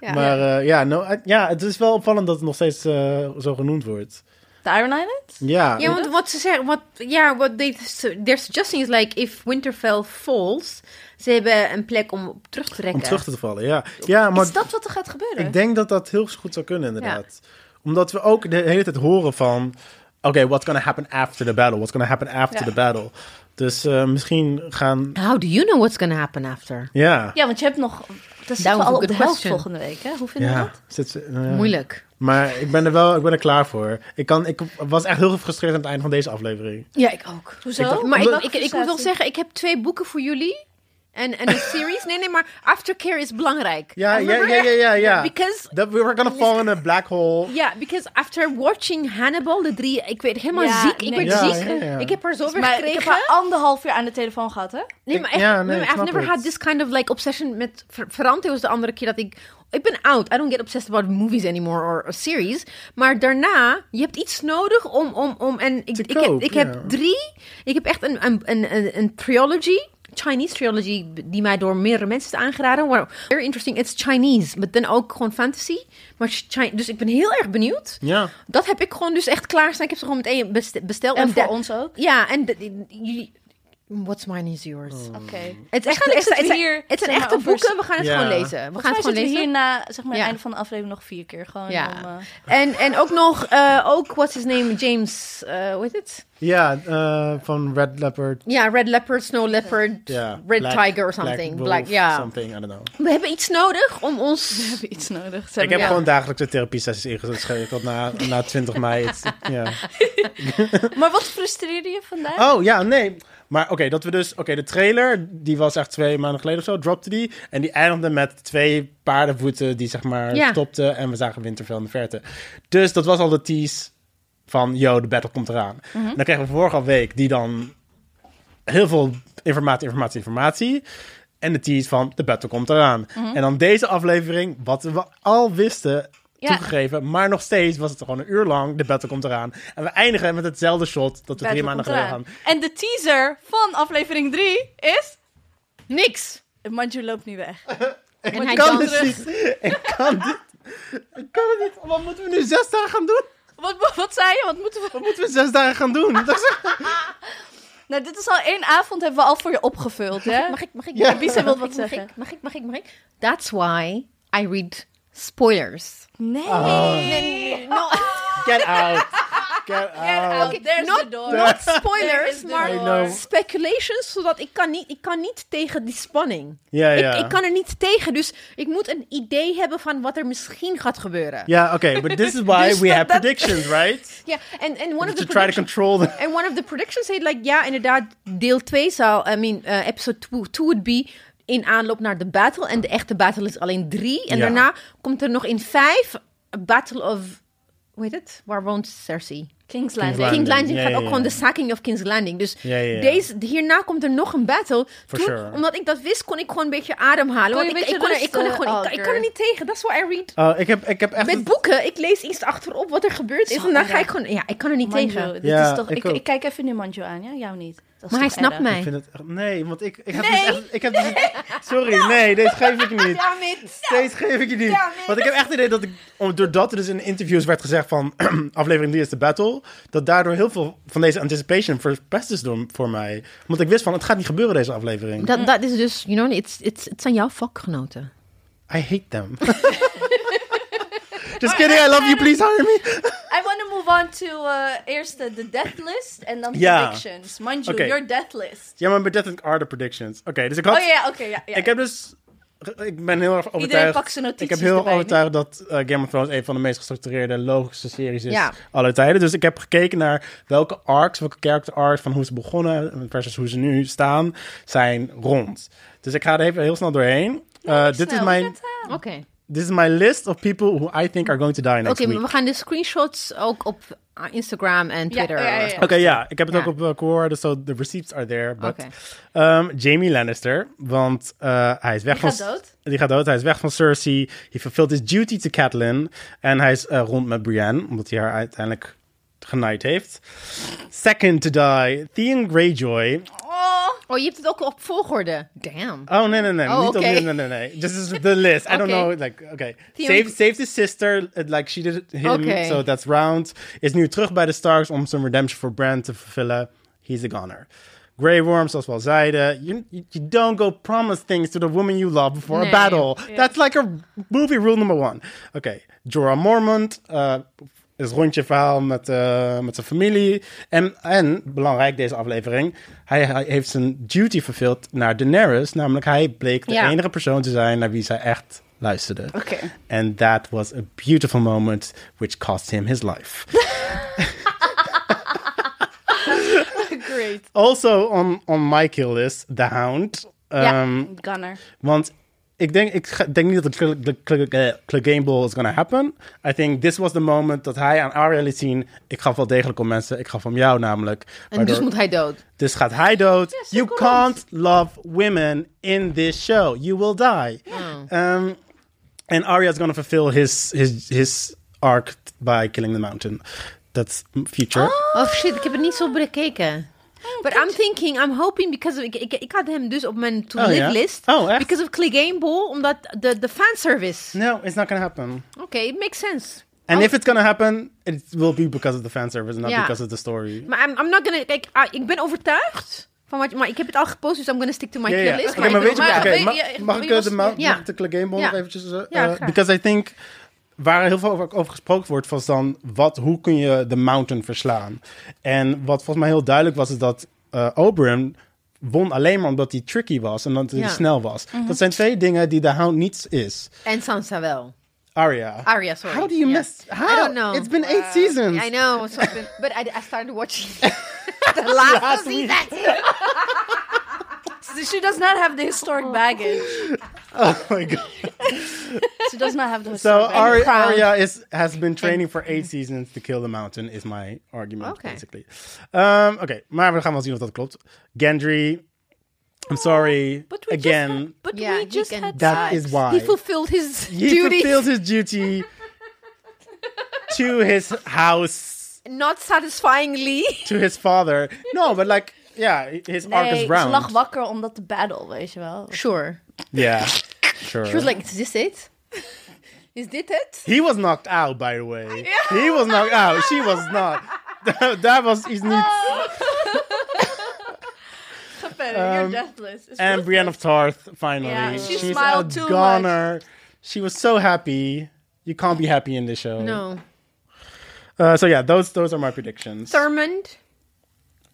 [SPEAKER 2] Ja.
[SPEAKER 1] Maar eh, ja, no, eh, ja, het is wel opvallend dat het nog steeds eh, zo genoemd wordt.
[SPEAKER 3] The Iron Islands?
[SPEAKER 1] Ja,
[SPEAKER 2] Ja, want wat ze zeggen, wat, ja, wat they, su- they're suggesting is like, if Winterfell falls, ze hebben een plek om op terug te trekken.
[SPEAKER 1] om terug te vallen, ja. Ja, maar
[SPEAKER 3] Is dat wat er gaat gebeuren?
[SPEAKER 1] ik denk dat dat heel goed zou kunnen, inderdaad. Omdat we ook de hele tijd horen van... Oké, what's gonna happen after the battle? What's gonna happen after
[SPEAKER 3] Ja.
[SPEAKER 1] the battle? Dus eh, misschien gaan...
[SPEAKER 2] How do you know what's gonna happen after?
[SPEAKER 1] Ja.
[SPEAKER 3] Ja, want je hebt nog... Dat zitten we
[SPEAKER 2] Daarom
[SPEAKER 3] al
[SPEAKER 2] vind ik
[SPEAKER 3] op
[SPEAKER 2] het
[SPEAKER 3] de helft
[SPEAKER 2] question.
[SPEAKER 3] volgende week, hè? Hoe vinden we dat?
[SPEAKER 1] Zit ze- ja.
[SPEAKER 2] Moeilijk.
[SPEAKER 1] Maar ik ben er wel, ik ben er klaar voor. Ik, kan, ik was echt heel gefrustreerd aan het einde van deze aflevering.
[SPEAKER 2] Ja, ik ook.
[SPEAKER 3] Hoezo?
[SPEAKER 1] Ik dacht-
[SPEAKER 2] Maar
[SPEAKER 1] Omdat-
[SPEAKER 2] ik, ik, ik moet wel zeggen, ik heb twee boeken voor jullie. En en een series. Nee, nee, maar aftercare is belangrijk.
[SPEAKER 1] Ja, ja,
[SPEAKER 2] Remember?
[SPEAKER 1] ja, ja, ja, ja.
[SPEAKER 2] Because
[SPEAKER 1] That we were gonna fall in a black hole.
[SPEAKER 2] Ja, because after watching Hannibal, de drie, ik werd helemaal
[SPEAKER 3] Ja,
[SPEAKER 2] ziek. Ik
[SPEAKER 3] nee.
[SPEAKER 2] werd
[SPEAKER 1] Ja,
[SPEAKER 2] ziek.
[SPEAKER 1] ja, ja.
[SPEAKER 2] Ik heb haar zo weer
[SPEAKER 3] Maar ik heb
[SPEAKER 2] gekregen.
[SPEAKER 3] haar anderhalf jaar aan de telefoon gehad, hè?
[SPEAKER 2] Nee, maar
[SPEAKER 1] Ik-
[SPEAKER 2] echt,
[SPEAKER 1] ja, nee,
[SPEAKER 2] nee,
[SPEAKER 1] ik
[SPEAKER 2] I've
[SPEAKER 1] snap
[SPEAKER 2] never
[SPEAKER 1] het.
[SPEAKER 2] had this kind of like obsession met Ver- Ferrante was de andere keer dat ik ik ben oud. I don't get obsessed about movies anymore or, or series. Maar daarna, je hebt iets nodig om om om en ik ik, heb,
[SPEAKER 1] cope,
[SPEAKER 2] ik
[SPEAKER 1] ja.
[SPEAKER 2] heb drie. Ik heb echt een een een een, een trilogy. Chinese trilogy die mij door meerdere mensen is aangeraden. Wow, very interesting. It's Chinese, maar dan ook gewoon fantasy. Maar Chi- dus ik ben heel erg benieuwd.
[SPEAKER 1] Ja.
[SPEAKER 2] Dat heb ik gewoon dus echt klaarstaan. Ik heb ze gewoon meteen best- besteld.
[SPEAKER 3] En voor
[SPEAKER 2] da-
[SPEAKER 3] ons ook.
[SPEAKER 2] Ja, en de- die- jullie... What's mine is yours.
[SPEAKER 1] Oh.
[SPEAKER 2] Het
[SPEAKER 3] Oké.
[SPEAKER 2] is echt
[SPEAKER 3] Waarschijnlijk
[SPEAKER 2] het,
[SPEAKER 3] zitten we
[SPEAKER 2] zijn-
[SPEAKER 3] hier,
[SPEAKER 2] het zijn
[SPEAKER 3] zeg maar,
[SPEAKER 2] echte
[SPEAKER 3] over-
[SPEAKER 2] boeken. We gaan het
[SPEAKER 1] Ja.
[SPEAKER 2] gewoon lezen. We gaan
[SPEAKER 3] Volgens mij
[SPEAKER 2] het gewoon
[SPEAKER 3] zitten we
[SPEAKER 2] lezen.
[SPEAKER 3] hier na zeg maar, het
[SPEAKER 2] Ja.
[SPEAKER 3] einde van de aflevering nog vier keer. Gewoon
[SPEAKER 2] Ja. [LAUGHS]
[SPEAKER 3] om, eh,
[SPEAKER 2] En, en ook nog, eh, ook, what's his name? James, eh hoe heet het?
[SPEAKER 1] Ja, eh, van Red Leopard.
[SPEAKER 2] Ja, Red Leopard, Snow Leopard,
[SPEAKER 1] Ja.
[SPEAKER 2] Red
[SPEAKER 1] Black-
[SPEAKER 2] Tiger or something.
[SPEAKER 1] Wolf,
[SPEAKER 2] Black, ja.
[SPEAKER 1] Something, I don't know.
[SPEAKER 2] We hebben iets nodig om ons...
[SPEAKER 3] we hebben iets nodig. Ze
[SPEAKER 1] Ik heb
[SPEAKER 3] hebben-
[SPEAKER 1] gewoon dagelijkse therapie sessies ingezet. schreef ik al na, na 20 mei. Het- ja. [LAUGHS]
[SPEAKER 3] Maar wat frustreerde je vandaag?
[SPEAKER 1] Oh ja, nee. Maar oké, dat we dus. Oké, de trailer, die was echt twee maanden geleden of zo, dropte die. En die eindigde met twee paardenvoeten die zeg maar
[SPEAKER 2] Ja.
[SPEAKER 1] stopten. En we zagen Winterfell in de verte. Dus dat was al de tease van, yo, de battle komt eraan.
[SPEAKER 3] Mhm.
[SPEAKER 1] En dan kregen we vorige week die dan heel veel informatie, informatie, informatie. En de tease van, de battle komt eraan.
[SPEAKER 3] Mhm.
[SPEAKER 1] En dan deze aflevering, wat we al wisten,
[SPEAKER 3] Ja.
[SPEAKER 1] toegegeven. Maar nog steeds was het gewoon een uur lang, de battle komt eraan. En we eindigen met hetzelfde shot dat we
[SPEAKER 3] Battle
[SPEAKER 1] drie maanden
[SPEAKER 3] komt
[SPEAKER 1] geleden
[SPEAKER 3] eraan.
[SPEAKER 1] hadden.
[SPEAKER 3] En de teaser van aflevering 3 is...
[SPEAKER 2] Niks.
[SPEAKER 3] Manju loopt nu weg.
[SPEAKER 2] En
[SPEAKER 1] [LAUGHS] Ik
[SPEAKER 2] hij
[SPEAKER 1] kan
[SPEAKER 2] dan
[SPEAKER 1] dit
[SPEAKER 2] terug.
[SPEAKER 1] niet. Ik kan dit. Ik kan het niet. Wat moeten we nu zes dagen gaan doen?
[SPEAKER 3] Wat, wat, wat zei je? Wat moeten we...
[SPEAKER 1] Wat moeten we zes dagen gaan doen? Dat is-
[SPEAKER 3] Nou, dit is al één avond hebben we al voor je opgevuld,
[SPEAKER 2] [LAUGHS]
[SPEAKER 3] hè?
[SPEAKER 2] Mag ik, mag ik,
[SPEAKER 1] Ja.
[SPEAKER 2] mag ik,
[SPEAKER 3] Bisa wil
[SPEAKER 2] mag
[SPEAKER 3] wat
[SPEAKER 2] ik, mag
[SPEAKER 3] zeggen.
[SPEAKER 2] ik, Mag ik, mag ik, mag ik? That's why I read spoilers.
[SPEAKER 3] Nee.
[SPEAKER 2] No,
[SPEAKER 1] Get out. Get out.
[SPEAKER 3] Ah. Oké, there's
[SPEAKER 2] not-
[SPEAKER 3] the door.
[SPEAKER 2] not
[SPEAKER 1] [LAUGHS]
[SPEAKER 3] There is
[SPEAKER 2] spoilers,
[SPEAKER 3] the
[SPEAKER 2] maar
[SPEAKER 1] I
[SPEAKER 3] door.
[SPEAKER 1] know.
[SPEAKER 2] speculations, zodat ik kan niet, ik kan niet tegen die spanning.
[SPEAKER 1] Ja, ja.
[SPEAKER 2] Ik, ik kan er niet tegen, dus ik moet een idee hebben van wat er misschien gaat gebeuren.
[SPEAKER 1] Ja, oké, but this is why
[SPEAKER 2] Dus
[SPEAKER 1] we
[SPEAKER 2] dat-
[SPEAKER 1] have
[SPEAKER 2] dat-
[SPEAKER 1] predictions, right?
[SPEAKER 2] Ja, en en one
[SPEAKER 1] To
[SPEAKER 2] of the
[SPEAKER 1] try to
[SPEAKER 2] predictions.
[SPEAKER 1] control them.
[SPEAKER 2] And one of the predictions said like, ja, inderdaad, deel 2 zal, I mean, eh, episode 2 would be in aanloop naar de battle. En de echte battle is alleen 3. En
[SPEAKER 1] Ja.
[SPEAKER 2] daarna komt er nog in 5 Battle of, hoe heet het? Waar woont Cersei?
[SPEAKER 3] King's
[SPEAKER 1] Landing.
[SPEAKER 3] Landing.
[SPEAKER 2] King's Landing
[SPEAKER 1] Ja,
[SPEAKER 2] gaat
[SPEAKER 1] ja,
[SPEAKER 2] ook
[SPEAKER 1] ja.
[SPEAKER 2] gewoon de sacking of King's Landing. Dus
[SPEAKER 1] Ja, ja, ja.
[SPEAKER 2] Deze, hierna komt er nog een battle.
[SPEAKER 1] For
[SPEAKER 2] Toen,
[SPEAKER 1] sure.
[SPEAKER 2] Omdat ik dat wist, kon ik gewoon een beetje ademhalen.
[SPEAKER 3] Kon
[SPEAKER 2] Want
[SPEAKER 3] je
[SPEAKER 2] ik,
[SPEAKER 3] een
[SPEAKER 2] ik,
[SPEAKER 3] beetje
[SPEAKER 2] kon er, ik,
[SPEAKER 3] rust,
[SPEAKER 2] kon er
[SPEAKER 3] eh,
[SPEAKER 2] gewoon, ik, kan- ik kan er niet tegen. Dat is wat I read.
[SPEAKER 1] Oh, ik, heb, ik heb echt...
[SPEAKER 2] Met boeken, ik lees iets achterop wat er gebeurd is.
[SPEAKER 3] Zo
[SPEAKER 2] En dan ga
[SPEAKER 3] erg.
[SPEAKER 2] ik gewoon... Ja, ik kan er niet tegen.
[SPEAKER 3] Manju, dit
[SPEAKER 1] Ja,
[SPEAKER 3] is toch...
[SPEAKER 1] ik
[SPEAKER 3] Ik,
[SPEAKER 1] ook.
[SPEAKER 3] ik kijk even nu Manju aan, ja? Jou niet. Dat is
[SPEAKER 2] Maar hij
[SPEAKER 3] toch
[SPEAKER 2] snapt
[SPEAKER 3] erg.
[SPEAKER 1] Ik
[SPEAKER 2] mij.
[SPEAKER 1] vind het echt... Nee, want ik... ik heb
[SPEAKER 3] Nee.
[SPEAKER 1] dus echt- ik heb dus-
[SPEAKER 3] [LAUGHS]
[SPEAKER 1] Sorry, nee, deze geef ik niet.
[SPEAKER 2] Ja, met.
[SPEAKER 1] Steeds geef ik je die.
[SPEAKER 2] Ja, nee.
[SPEAKER 1] Want ik heb echt het idee dat ik, om- doordat er dus in interviews werd gezegd van [CLEARS THROAT] aflevering 3 is de battle, dat daardoor heel veel van deze anticipation verpest is door, voor mij. Want ik wist van, het gaat niet gebeuren deze aflevering.
[SPEAKER 2] Dat, dat is dus, you know, it's, it's, het zijn jouw vakgenoten.
[SPEAKER 1] I hate
[SPEAKER 3] [LAUGHS]
[SPEAKER 1] them. Just kidding, I love you, please hire me.
[SPEAKER 3] I want to move on to eh, eerst de de death list en dan
[SPEAKER 1] Ja.
[SPEAKER 3] predictions. Manju,
[SPEAKER 1] Oké.
[SPEAKER 3] your death list.
[SPEAKER 1] Ja, maar dat are the predictions. Oké, dus ik had...
[SPEAKER 3] Oh ja, ja, oké, ja, ja.
[SPEAKER 1] Ik heb dus... Ik ben heel erg overtuigd.
[SPEAKER 3] pakt zijn notities
[SPEAKER 1] Ik heb heel
[SPEAKER 3] erbij nu.
[SPEAKER 1] overtuigd dat eh, Game of Thrones een van de meest gestructureerde, logische series is
[SPEAKER 2] Ja.
[SPEAKER 1] alle tijden. Dus ik heb gekeken naar welke arcs, welke character arcs van hoe ze begonnen versus hoe ze nu staan, zijn rond. Dus ik ga er even heel snel doorheen. Eh, dit, is
[SPEAKER 3] Nou,
[SPEAKER 1] mijn,
[SPEAKER 2] Oké.
[SPEAKER 1] dit is mijn list of people who I think are going to die next
[SPEAKER 2] Oké,
[SPEAKER 1] week.
[SPEAKER 2] maar we gaan de screenshots ook op eh, Instagram en Twitter.
[SPEAKER 3] ja, ja, ja.
[SPEAKER 1] Oké, ja. Ik heb het
[SPEAKER 2] Ja.
[SPEAKER 1] ook op uh, dus so the receipts are there. But,
[SPEAKER 2] Oké.
[SPEAKER 1] Ehm, Jamie Lannister, want eh, hij is weg
[SPEAKER 3] Die
[SPEAKER 1] van...
[SPEAKER 3] gaat dood.
[SPEAKER 1] Die gaat dood. Hij is weg van Cersei. He fulfilled his duty to Catelyn. En hij is eh, rond met Brienne, omdat hij haar uiteindelijk genaaid heeft. Second to die, Theon Greyjoy.
[SPEAKER 3] Oh, [LAUGHS]
[SPEAKER 2] Oh, je hebt het ook op volgorde. Damn.
[SPEAKER 1] Oh, nee, nee, nee.
[SPEAKER 2] Oh,
[SPEAKER 1] niet
[SPEAKER 2] oké.
[SPEAKER 1] opnieuw, nee, nee, nee. This is the list. I don't
[SPEAKER 2] Oké.
[SPEAKER 1] know. Like, okay.
[SPEAKER 2] Theon-
[SPEAKER 1] Saved, saved his sister. eh, Like, she did him.
[SPEAKER 2] Oké.
[SPEAKER 1] So that's round. Is nu terug bij de Starks om zijn redemption voor Bran te vervullen. He's a goner. Grey Worm, zoals we al zeiden. You, you you don't go promise things to the woman you love before
[SPEAKER 2] Nee.
[SPEAKER 1] a battle. That's like a movie rule number one. Oké. Jorah Mormont. eh, is rondje verhaal met, eh, met zijn familie. En, en, belangrijk deze aflevering, hij, hij heeft zijn duty vervuld naar Daenerys. Namelijk, hij bleek de
[SPEAKER 2] Ja.
[SPEAKER 1] enige persoon te zijn naar wie zij echt luisterde.
[SPEAKER 3] Oké.
[SPEAKER 1] And that was a beautiful moment which cost him his life. [LAUGHS]
[SPEAKER 3] great.
[SPEAKER 1] also on, on my kill list, The Hound.
[SPEAKER 3] Ja,
[SPEAKER 1] Ehm,
[SPEAKER 3] Gunner.
[SPEAKER 1] Want ik denk, ik ga- denk niet dat de Cla- de Cla- eh, Clegane Bowl is gonna happen. I think this was the moment dat hij aan Arya liet zien... ik gaf wel degelijk om mensen, ik gaf om jou namelijk.
[SPEAKER 2] en dus
[SPEAKER 1] Waardoor-
[SPEAKER 2] moet hij dood.
[SPEAKER 1] Dus gaat hij dood.
[SPEAKER 3] ze
[SPEAKER 1] you
[SPEAKER 3] komt.
[SPEAKER 1] can't love women in this show. You will die. Um, and Arya's gonna fulfill his, his, his arc by killing the mountain. That's future.
[SPEAKER 2] Oh shit, ik heb het niet zo bekeken. But I'm thinking, I'm hoping, because of- ik, ik, ik had hem dus op mijn to-live
[SPEAKER 1] Oh, ja?
[SPEAKER 2] list.
[SPEAKER 1] Oh, echt?
[SPEAKER 2] Because of Clegane Ball, omdat de, de fanservice.
[SPEAKER 1] No, it's not gonna happen.
[SPEAKER 2] Oké, it makes sense.
[SPEAKER 1] And if it's gonna happen, it will be because of the fan service, not
[SPEAKER 2] Oh. Ja.
[SPEAKER 1] because of the story.
[SPEAKER 2] Maar I'm, I'm not gonna, kijk, ah, ik ben overtuigd van wat je, maar ik heb het al gepost, dus I'm gonna stick to my
[SPEAKER 1] Ja, ja.
[SPEAKER 2] kill list.
[SPEAKER 1] Oké,
[SPEAKER 2] maar
[SPEAKER 1] maar
[SPEAKER 2] ik
[SPEAKER 1] weet je
[SPEAKER 2] wil-
[SPEAKER 1] wat-
[SPEAKER 3] maar-
[SPEAKER 1] oké,
[SPEAKER 3] weet
[SPEAKER 1] ma-
[SPEAKER 3] je-
[SPEAKER 1] Mag
[SPEAKER 3] wie
[SPEAKER 1] ik eh,
[SPEAKER 3] was-
[SPEAKER 1] de ma-
[SPEAKER 2] ja.
[SPEAKER 1] mag ik de Clegane Bowl
[SPEAKER 2] Ja.
[SPEAKER 1] nog eventjes... eh,
[SPEAKER 2] Ja,
[SPEAKER 1] eh,
[SPEAKER 2] graag.
[SPEAKER 1] because I think... Waar heel veel over, over gesproken wordt, was dan... Wat, hoe kun je de mountain verslaan? En wat volgens mij heel duidelijk was... is dat eh Oberyn won alleen maar omdat hij tricky was... en omdat hij
[SPEAKER 2] Ja. Mhm.
[SPEAKER 1] snel was. Dat zijn twee dingen die de Hound niet is.
[SPEAKER 2] En Sansa wel.
[SPEAKER 1] Aria.
[SPEAKER 2] Arya, sorry.
[SPEAKER 1] How do you
[SPEAKER 2] Ja.
[SPEAKER 1] miss... How?
[SPEAKER 2] don't know.
[SPEAKER 1] It's been eight seasons.
[SPEAKER 2] I know, so I've been- but I, I started watching
[SPEAKER 1] [LAUGHS]
[SPEAKER 2] [LAUGHS] the last,
[SPEAKER 1] Last week.
[SPEAKER 2] season.
[SPEAKER 3] So she does not have the historic baggage.
[SPEAKER 1] [LAUGHS] Oh my god.
[SPEAKER 3] She does not have the historic
[SPEAKER 1] So uh, Arya,
[SPEAKER 3] baggage.
[SPEAKER 2] proud.
[SPEAKER 1] Arya is has been training for eight seasons to kill the mountain is my argument
[SPEAKER 2] Oké.
[SPEAKER 1] basically. Um, Oké, maar we gaan wel zien of dat klopt. Gendry, I'm
[SPEAKER 2] Oh,
[SPEAKER 1] sorry
[SPEAKER 3] But we
[SPEAKER 1] again.
[SPEAKER 3] just had, but
[SPEAKER 2] Yeah,
[SPEAKER 3] we
[SPEAKER 2] he
[SPEAKER 3] just
[SPEAKER 2] can-
[SPEAKER 3] had
[SPEAKER 1] that
[SPEAKER 3] sex.
[SPEAKER 1] is why
[SPEAKER 2] He fulfilled his
[SPEAKER 1] he
[SPEAKER 2] duty.
[SPEAKER 1] fulfilled his duty to his house,
[SPEAKER 2] Not satisfyingly.
[SPEAKER 1] to his father. No, but like yeah, his arc
[SPEAKER 3] Nee,
[SPEAKER 1] is
[SPEAKER 3] ze
[SPEAKER 1] round.
[SPEAKER 3] lag wakker omdat de battle, weet je wel.
[SPEAKER 2] Sure.
[SPEAKER 1] Yeah, sure.
[SPEAKER 2] She was like, is this it? [LAUGHS] Is dit het?
[SPEAKER 1] He was knocked out, by the way. He was knocked out. She was not. [LAUGHS] Dat, dat was
[SPEAKER 2] [LAUGHS]
[SPEAKER 1] iets niet.
[SPEAKER 3] You're deathless. It's
[SPEAKER 1] And Brienne of Tarth, finally.
[SPEAKER 3] Yeah, she
[SPEAKER 1] She's
[SPEAKER 3] smiled
[SPEAKER 1] a
[SPEAKER 3] too much.
[SPEAKER 1] goner. She was so happy. You can't be happy in this show.
[SPEAKER 2] No.
[SPEAKER 1] Uh, so yeah, those those are my predictions.
[SPEAKER 2] Thurmond?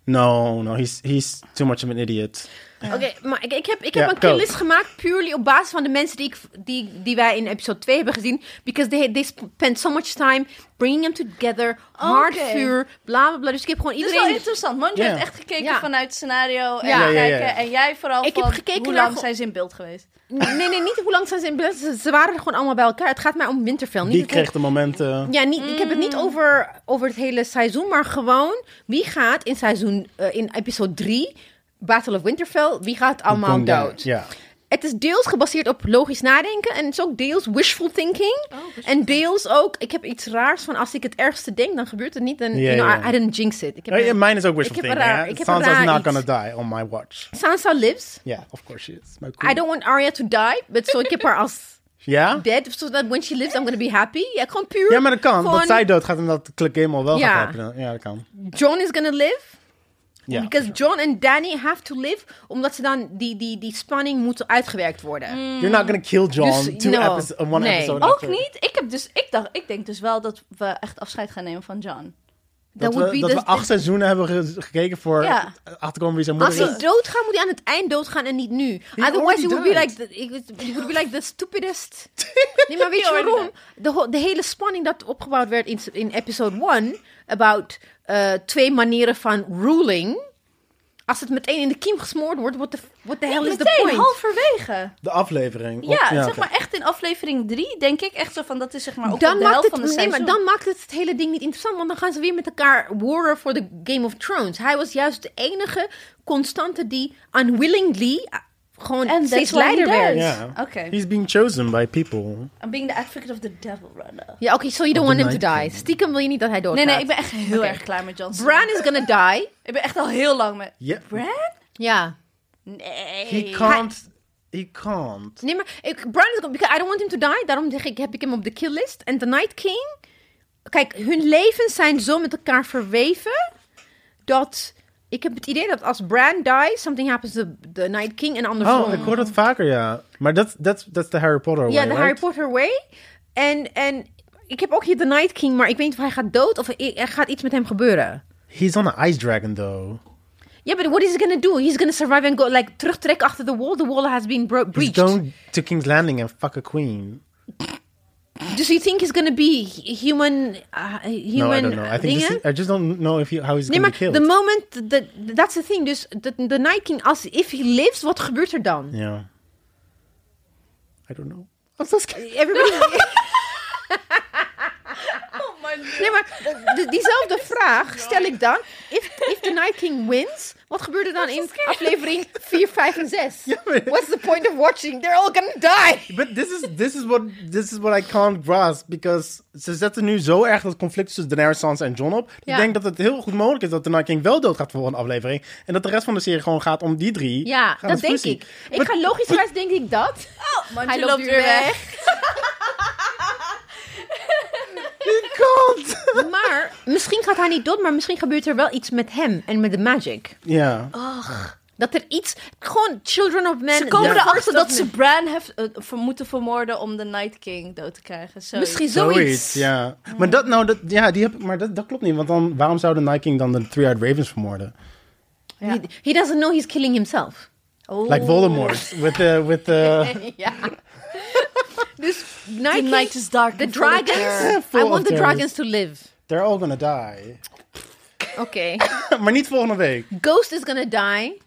[SPEAKER 1] No, no, he's he's too much of an idiot.
[SPEAKER 2] Oké, maar ik, ik heb, ik heb
[SPEAKER 1] Ja,
[SPEAKER 2] een kill
[SPEAKER 1] go.
[SPEAKER 2] list gemaakt purely op basis van de mensen die, ik, die, die wij in episode 2 hebben gezien. Because they, they spent so much time bringing them together, hard
[SPEAKER 3] Oké.
[SPEAKER 2] vuur, bla bla bla. Dus ik heb gewoon
[SPEAKER 3] Het is wel
[SPEAKER 2] iedereen...
[SPEAKER 3] interessant, want je
[SPEAKER 1] Ja.
[SPEAKER 3] hebt echt gekeken
[SPEAKER 2] Ja.
[SPEAKER 3] vanuit scenario en
[SPEAKER 2] Ja.
[SPEAKER 1] Ja, ja, ja.
[SPEAKER 3] kijken. En jij vooral
[SPEAKER 2] Ik heb
[SPEAKER 3] van
[SPEAKER 2] gekeken
[SPEAKER 3] hoe
[SPEAKER 2] naar
[SPEAKER 3] lang
[SPEAKER 2] ge-
[SPEAKER 3] zijn ze in beeld geweest.
[SPEAKER 2] Nee, nee, niet hoe lang zijn ze in beeld. Ze, ze waren er gewoon allemaal bij elkaar. Het gaat mij om Winterfell. Niet
[SPEAKER 1] Die Mm.
[SPEAKER 2] het hele-
[SPEAKER 1] kreeg de momenten.
[SPEAKER 2] Ja, niet, ik heb het niet over, over het hele seizoen, maar gewoon wie gaat in seizoen eh, in episode 3, Battle of Winterfell, wie gaat allemaal
[SPEAKER 1] Gone down.
[SPEAKER 2] dood?
[SPEAKER 1] Ja.
[SPEAKER 2] Het is deels gebaseerd op logisch nadenken en het is ook deels Oh, wishful thinking. en deels ook, ik heb iets raars van als ik het ergste denk, dan gebeurt het niet. En
[SPEAKER 1] Ja,
[SPEAKER 2] you know,
[SPEAKER 1] ja,
[SPEAKER 2] I-
[SPEAKER 1] ja.
[SPEAKER 2] I, didn't jinx it. Ik heb
[SPEAKER 1] Oh, yeah,
[SPEAKER 2] een-
[SPEAKER 1] mine is ook wishful
[SPEAKER 2] Ik heb een
[SPEAKER 1] thinking.
[SPEAKER 2] raar-
[SPEAKER 1] hè?
[SPEAKER 2] ik heb een
[SPEAKER 1] Sansa's
[SPEAKER 2] raar
[SPEAKER 1] not
[SPEAKER 2] iets.
[SPEAKER 1] gonna die on my watch.
[SPEAKER 2] Sansa lives.
[SPEAKER 1] Yeah, of course she is. My
[SPEAKER 2] I
[SPEAKER 1] queen.
[SPEAKER 2] don't want Arya to die, but so ik heb haar als
[SPEAKER 1] Ja?
[SPEAKER 2] dead, so that when she lives, I'm gonna be happy. Ja, gewoon puur.
[SPEAKER 1] Ja, maar dat kan.
[SPEAKER 2] gewoon-
[SPEAKER 1] Dat zij doodgaat en dat Click Gamel wel
[SPEAKER 2] Ja.
[SPEAKER 1] gaat happen. Ja, dat kan.
[SPEAKER 2] John is gonna live.
[SPEAKER 1] Ja.
[SPEAKER 2] Because John en Danny have to live, omdat ze dan die, die, die spanning moeten uitgewerkt worden.
[SPEAKER 1] You're not gonna kill John
[SPEAKER 2] Dus,
[SPEAKER 1] two
[SPEAKER 2] no. Oh,
[SPEAKER 1] episodes, one
[SPEAKER 2] Nee.
[SPEAKER 1] episode
[SPEAKER 3] Ook
[SPEAKER 1] after.
[SPEAKER 3] niet. Ik, heb dus, ik, dacht, ik denk dus wel dat we echt afscheid gaan nemen van John.
[SPEAKER 1] Dat, we, dat
[SPEAKER 2] dus
[SPEAKER 1] we acht seizoenen hebben ge- gekeken voor
[SPEAKER 3] Ja.
[SPEAKER 1] achterkomen wie zijn
[SPEAKER 2] Als
[SPEAKER 1] moeder
[SPEAKER 2] hij
[SPEAKER 1] is.
[SPEAKER 2] doodgaat, moet hij aan het eind doodgaan en niet nu. Otherwise,
[SPEAKER 1] already
[SPEAKER 2] he would, be
[SPEAKER 1] died.
[SPEAKER 2] like the, he would- he would be like the
[SPEAKER 3] [LAUGHS]
[SPEAKER 2] stupidest. nee, maar weet je
[SPEAKER 3] He already
[SPEAKER 2] waarom? De, ho- de hele spanning dat opgebouwd werd in, s- in episode 1... about eh, twee manieren van ruling... Als het meteen in de kiem gesmoord wordt, what the, what the hell is the
[SPEAKER 3] Meteen,
[SPEAKER 2] point?
[SPEAKER 3] halverwege.
[SPEAKER 1] De aflevering. Of-
[SPEAKER 3] Ja, zeg
[SPEAKER 1] oké.
[SPEAKER 3] maar echt in aflevering 3, denk ik. Echt zo van, dat is zeg maar ook op
[SPEAKER 2] Dan
[SPEAKER 3] de
[SPEAKER 2] maakt,
[SPEAKER 3] helft
[SPEAKER 2] het,
[SPEAKER 3] van de
[SPEAKER 2] nee,
[SPEAKER 3] seizoen.
[SPEAKER 2] maar dan maakt het het hele ding niet interessant. Want dan gaan ze weer met elkaar warren voor de Game of Thrones. Hij was juist de enige constante die unwillingly eh, gewoon
[SPEAKER 3] And
[SPEAKER 2] steeds
[SPEAKER 3] that's why he
[SPEAKER 2] leider werd.
[SPEAKER 3] does.
[SPEAKER 2] Ja,
[SPEAKER 1] Ja.
[SPEAKER 3] Oké.
[SPEAKER 1] He's being chosen by people.
[SPEAKER 3] I'm being the advocate of the devil right now.
[SPEAKER 2] oké, so you don't
[SPEAKER 1] Of the
[SPEAKER 2] want him to
[SPEAKER 1] Night
[SPEAKER 2] die. Stiekem wil je niet dat hij doodgaat.
[SPEAKER 3] Nee, nee, ik ben echt heel
[SPEAKER 2] Oké.
[SPEAKER 3] erg klaar met Johnson.
[SPEAKER 2] Bran is gonna die.
[SPEAKER 3] Ik ben echt al heel lang met...
[SPEAKER 1] Ja.
[SPEAKER 3] Bran?
[SPEAKER 2] Ja.
[SPEAKER 3] Nee.
[SPEAKER 1] He can't. He can't.
[SPEAKER 2] Nee, maar ik, Bran is... Because I don't want him to die. Daarom zeg ik, heb ik hem op de kill list. En The Night King... Kijk, hun levens zijn zo met elkaar verweven... dat... Ik heb het idee dat als Bran dies... something happens to The Night King en andersom.
[SPEAKER 1] Oh, ik hoor dat vaker, ja. Maar dat dat dat is de Harry Potter way,
[SPEAKER 2] ja, de
[SPEAKER 1] right?
[SPEAKER 2] Harry Potter way. En, en ik heb ook hier The Night King... maar ik weet niet of hij gaat dood... of er er gaat iets met hem gebeuren.
[SPEAKER 1] He's on an ice dragon, though.
[SPEAKER 2] Ja, but what is he gonna do? He's gonna survive and go... like, terugtrekken achter the wall. The wall has been bro-
[SPEAKER 1] He's
[SPEAKER 2] breached.
[SPEAKER 1] going to King's Landing and fuck a queen.
[SPEAKER 2] Does he Dus think he's gonna be hu- human? Uh, human
[SPEAKER 1] No, I don't know. I think
[SPEAKER 2] dingen?
[SPEAKER 1] this is- I just don't know if he, how he's going
[SPEAKER 2] Nee, maar
[SPEAKER 1] to be killed.
[SPEAKER 2] the moment, the, that's the thing. Dus de, de Night King, als if he lives, wat gebeurt er dan?
[SPEAKER 1] Yeah. I don't know. I'm so scared. [LAUGHS]
[SPEAKER 2] Everybody,
[SPEAKER 3] Oh my god.
[SPEAKER 2] nee, maar de- diezelfde vraag stel ik dan. If, if the Night King wins, wat gebeurt er dan in aflevering 4, 5 en 6?
[SPEAKER 1] maar-
[SPEAKER 2] What's the point of watching? They're all gonna die.
[SPEAKER 1] But this is this is what this is what I can't grasp because ze zetten nu zo erg dat conflict tussen Daenerys, Sansa en Jon op.
[SPEAKER 2] Ja.
[SPEAKER 1] Ik denk dat het heel goed mogelijk is dat de Night King wel dood gaat voor een aflevering en dat de rest van de serie gewoon gaat om die drie.
[SPEAKER 2] Ja,
[SPEAKER 1] Gaan
[SPEAKER 2] dat
[SPEAKER 1] de
[SPEAKER 2] denk
[SPEAKER 1] ruzie.
[SPEAKER 2] ik. Ik ga logischwijs denk ik dat.
[SPEAKER 3] Man,
[SPEAKER 2] Hij
[SPEAKER 3] je
[SPEAKER 2] loopt
[SPEAKER 3] Oh, loopt
[SPEAKER 2] weer
[SPEAKER 3] weer weg.
[SPEAKER 1] He
[SPEAKER 2] [LAUGHS]
[SPEAKER 1] can't.
[SPEAKER 2] Maar misschien gaat hij niet dood, maar misschien gebeurt er wel iets met hem en met de magic.
[SPEAKER 1] Ja.
[SPEAKER 2] Oh, Dat er iets. Gewoon Children of Men.
[SPEAKER 3] Ze komen
[SPEAKER 2] de
[SPEAKER 3] erachter
[SPEAKER 2] first
[SPEAKER 3] dat
[SPEAKER 2] of
[SPEAKER 3] ze
[SPEAKER 2] Men.
[SPEAKER 3] Bran hef, eh, ver- moeten vermoorden om de Night King dood te krijgen. Zo.
[SPEAKER 2] Misschien zoiets.
[SPEAKER 1] Zoiets, ja. Maar dat nou, dat, ja, die heb ik, maar dat, dat klopt niet. Want dan, waarom zou de Night King dan de Three-Eyed Ravens vermoorden?
[SPEAKER 2] He, he doesn't know he's killing himself.
[SPEAKER 3] Oh.
[SPEAKER 1] Like Voldemort. With the, with
[SPEAKER 2] [LAUGHS]
[SPEAKER 1] the,
[SPEAKER 2] ja. dus Nike,
[SPEAKER 3] The night is dark
[SPEAKER 2] The
[SPEAKER 3] and full of
[SPEAKER 2] dragons.
[SPEAKER 1] terror. Full
[SPEAKER 2] I
[SPEAKER 1] of
[SPEAKER 2] want the
[SPEAKER 1] terror.
[SPEAKER 2] dragons to live.
[SPEAKER 1] they're all gonna die. [LAUGHS]
[SPEAKER 2] Oké.
[SPEAKER 1] maar niet volgende week.
[SPEAKER 2] Ghost is gonna die.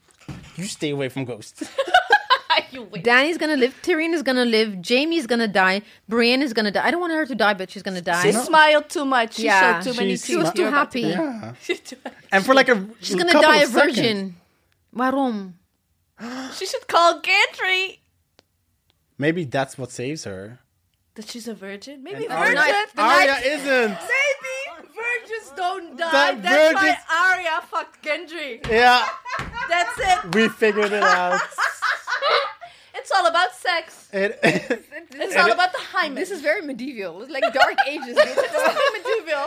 [SPEAKER 1] You stay away from Ghost.
[SPEAKER 3] [LAUGHS]
[SPEAKER 2] Danny's gonna live. Tyrion is gonna live. Jamie is gonna die. Brienne is gonna die. I don't want her to die, but she's gonna die.
[SPEAKER 3] She smiled too much. She
[SPEAKER 2] Ja.
[SPEAKER 3] showed too many
[SPEAKER 1] She
[SPEAKER 2] She was
[SPEAKER 3] teeth.
[SPEAKER 2] too
[SPEAKER 3] You're about to
[SPEAKER 2] happy.
[SPEAKER 1] Ja.
[SPEAKER 3] die.
[SPEAKER 1] En voor lekker.
[SPEAKER 2] She's gonna die a virgin. Waarom?
[SPEAKER 3] She should call Gendry.
[SPEAKER 1] Maybe that's what saves her.
[SPEAKER 3] That she's a virgin? Maybe
[SPEAKER 1] And Arya-
[SPEAKER 3] virgin?
[SPEAKER 2] The
[SPEAKER 1] Arya
[SPEAKER 2] night-
[SPEAKER 1] isn't.
[SPEAKER 3] Maybe virgins don't die.
[SPEAKER 1] That
[SPEAKER 3] That's why
[SPEAKER 1] virgins-
[SPEAKER 3] Arya fucked Gendry.
[SPEAKER 1] Yeah,
[SPEAKER 3] That's it.
[SPEAKER 1] we figured it out.
[SPEAKER 3] It's all about sex.
[SPEAKER 1] It,
[SPEAKER 3] It's all about the hymen.
[SPEAKER 2] This is very medieval. It's like Dark [LAUGHS] Ages.
[SPEAKER 3] medieval.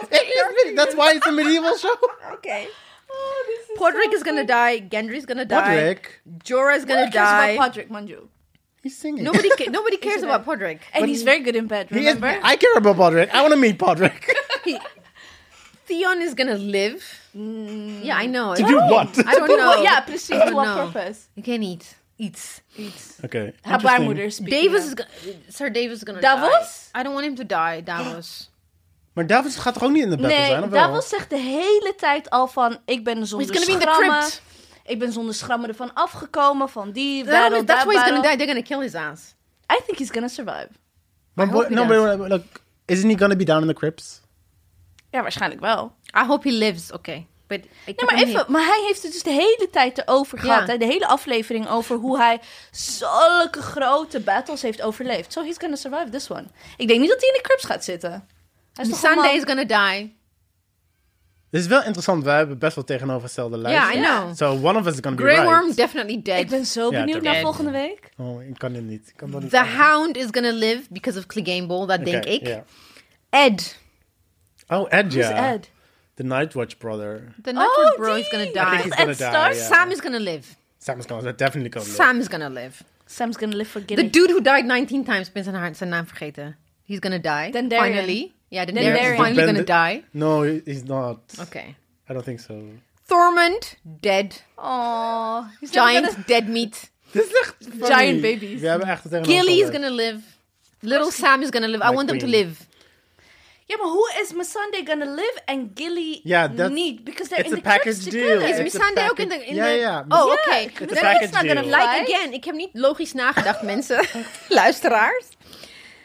[SPEAKER 1] that's why it's a medieval show.
[SPEAKER 2] [LAUGHS] okay.
[SPEAKER 3] Oh, this is
[SPEAKER 2] Podrick is gonna die. Gendry's gonna die.
[SPEAKER 1] Podrick,
[SPEAKER 2] Jorah is gonna
[SPEAKER 3] Who cares
[SPEAKER 2] die.
[SPEAKER 3] about Podrick, Manju.
[SPEAKER 1] he's singing.
[SPEAKER 2] Nobody, ca-
[SPEAKER 3] [LAUGHS]
[SPEAKER 2] nobody cares about Podrick.
[SPEAKER 3] And he's very good in bed,
[SPEAKER 1] [LAUGHS] He is,
[SPEAKER 3] remember?
[SPEAKER 1] I care about Podrick. I want to meet Podrick.
[SPEAKER 2] Theon is gonna live. Yeah, I know.
[SPEAKER 1] to do what?
[SPEAKER 2] I
[SPEAKER 3] [LAUGHS]
[SPEAKER 2] don't know.
[SPEAKER 3] yeah, precies.
[SPEAKER 2] I don't
[SPEAKER 3] To Mm. what
[SPEAKER 2] know.
[SPEAKER 3] purpose?
[SPEAKER 2] Ik weet niet. Iets.
[SPEAKER 3] Iets.
[SPEAKER 1] Okay.
[SPEAKER 3] Haar baarmoeder speaking
[SPEAKER 2] Davos
[SPEAKER 3] of.
[SPEAKER 2] is go- Sir Davos is gonna
[SPEAKER 3] Davos?
[SPEAKER 2] die. I don't want him to die,
[SPEAKER 3] [GASPS]
[SPEAKER 2] Davos.
[SPEAKER 1] Maar Davos gaat toch ook niet in de battle zijn,
[SPEAKER 3] Nee,
[SPEAKER 1] of wel?
[SPEAKER 3] Davos zegt de hele tijd al van... Ik ben
[SPEAKER 2] He's
[SPEAKER 3] zonder
[SPEAKER 2] gonna be in the
[SPEAKER 3] schrammen.
[SPEAKER 2] crypt.
[SPEAKER 3] Ik ben zonder schrammen ervan afgekomen. Van die
[SPEAKER 2] That
[SPEAKER 3] battle,
[SPEAKER 2] is- that's
[SPEAKER 3] that
[SPEAKER 2] why he's gonna die.
[SPEAKER 3] battle.
[SPEAKER 2] They're gonna kill his ass.
[SPEAKER 3] I think he's gonna survive.
[SPEAKER 1] Maar
[SPEAKER 2] I
[SPEAKER 1] what-
[SPEAKER 2] hope he
[SPEAKER 1] no, but but look, isn't he gonna be down in the crypts?
[SPEAKER 3] Ja, waarschijnlijk wel.
[SPEAKER 2] I hope he lives. Okay. But ik
[SPEAKER 3] Nee, maar
[SPEAKER 2] heb hem
[SPEAKER 3] even, maar hij heeft het dus de hele tijd erover gehad.
[SPEAKER 2] Ja.
[SPEAKER 3] Hè? De hele aflevering over hoe hij zulke grote battles heeft overleefd. So he's gonna survive this one. Ik denk niet dat hij in de crypts gaat zitten. Hij is
[SPEAKER 2] niet.
[SPEAKER 3] toch een man-
[SPEAKER 2] Sunday is gonna die.
[SPEAKER 1] Dit is wel interessant. Wij hebben best wel tegenovergestelde lijsten.
[SPEAKER 2] I know.
[SPEAKER 1] So one of us is gonna
[SPEAKER 2] Grey
[SPEAKER 1] be right.
[SPEAKER 2] Worm definitely
[SPEAKER 3] Ik
[SPEAKER 2] dead.
[SPEAKER 3] ben zo
[SPEAKER 1] Ja,
[SPEAKER 3] benieuwd
[SPEAKER 1] ter-
[SPEAKER 3] naar volgende week.
[SPEAKER 1] Oh, ik kan dit niet. Ik kan dat niet.
[SPEAKER 2] The Hound is gonna live because of Clegane Ball. Dat
[SPEAKER 1] Oké,
[SPEAKER 2] denk ik.
[SPEAKER 1] ja.
[SPEAKER 2] Ed,
[SPEAKER 1] Oh, Ed,
[SPEAKER 3] Who's
[SPEAKER 1] ja.
[SPEAKER 3] Ed?
[SPEAKER 1] The Nightwatch brother.
[SPEAKER 2] the
[SPEAKER 3] Oh,
[SPEAKER 2] Nightwatch Bro is gonna
[SPEAKER 3] die.
[SPEAKER 1] I think
[SPEAKER 2] die.
[SPEAKER 1] he's
[SPEAKER 3] Ed
[SPEAKER 1] gonna die.
[SPEAKER 3] Stark?
[SPEAKER 1] yeah.
[SPEAKER 2] Sam is gonna live.
[SPEAKER 1] Sam's gonna definitely gonna live.
[SPEAKER 2] Sam is gonna live.
[SPEAKER 3] Sam's gonna live for
[SPEAKER 2] The
[SPEAKER 3] Gideon.
[SPEAKER 2] dude who died 19 times, ik ben zijn, haar- zijn naam vergeten. He's gonna die.
[SPEAKER 3] Dendarian.
[SPEAKER 2] Finally. Ja, Dendarian,
[SPEAKER 3] Dendarian.
[SPEAKER 2] is finally
[SPEAKER 1] Ben-
[SPEAKER 2] gonna die.
[SPEAKER 1] No, he- he's not.
[SPEAKER 2] Oké.
[SPEAKER 1] I don't think so.
[SPEAKER 2] Thormund, dead.
[SPEAKER 3] Oh, he's never
[SPEAKER 2] Giant,
[SPEAKER 3] gonna-
[SPEAKER 2] dead meat.
[SPEAKER 1] Dit is echt
[SPEAKER 3] Giant babies.
[SPEAKER 1] We hebben echt het
[SPEAKER 2] Gilly is
[SPEAKER 1] tegenovergestelde.
[SPEAKER 2] gonna live. Little Sam is gonna live. I
[SPEAKER 1] My
[SPEAKER 2] want them to
[SPEAKER 1] queen.
[SPEAKER 2] live.
[SPEAKER 3] Ja, maar hoe is Missandei gonna live en Gilly
[SPEAKER 1] Ja, dat-
[SPEAKER 3] niet? Because they're
[SPEAKER 1] it's
[SPEAKER 3] in
[SPEAKER 1] a
[SPEAKER 3] the crypt
[SPEAKER 1] package
[SPEAKER 3] together.
[SPEAKER 1] deal.
[SPEAKER 2] Is
[SPEAKER 1] It's a
[SPEAKER 2] Missandei ook in de... In
[SPEAKER 1] Ja,
[SPEAKER 2] de...
[SPEAKER 1] ja.
[SPEAKER 2] Oh, oké.
[SPEAKER 3] Yeah, it's a
[SPEAKER 2] Then
[SPEAKER 1] package
[SPEAKER 2] it's not gonna
[SPEAKER 1] deal.
[SPEAKER 2] Like again. Ik heb niet logisch nagedacht, [LAUGHS] mensen. Luisteraars.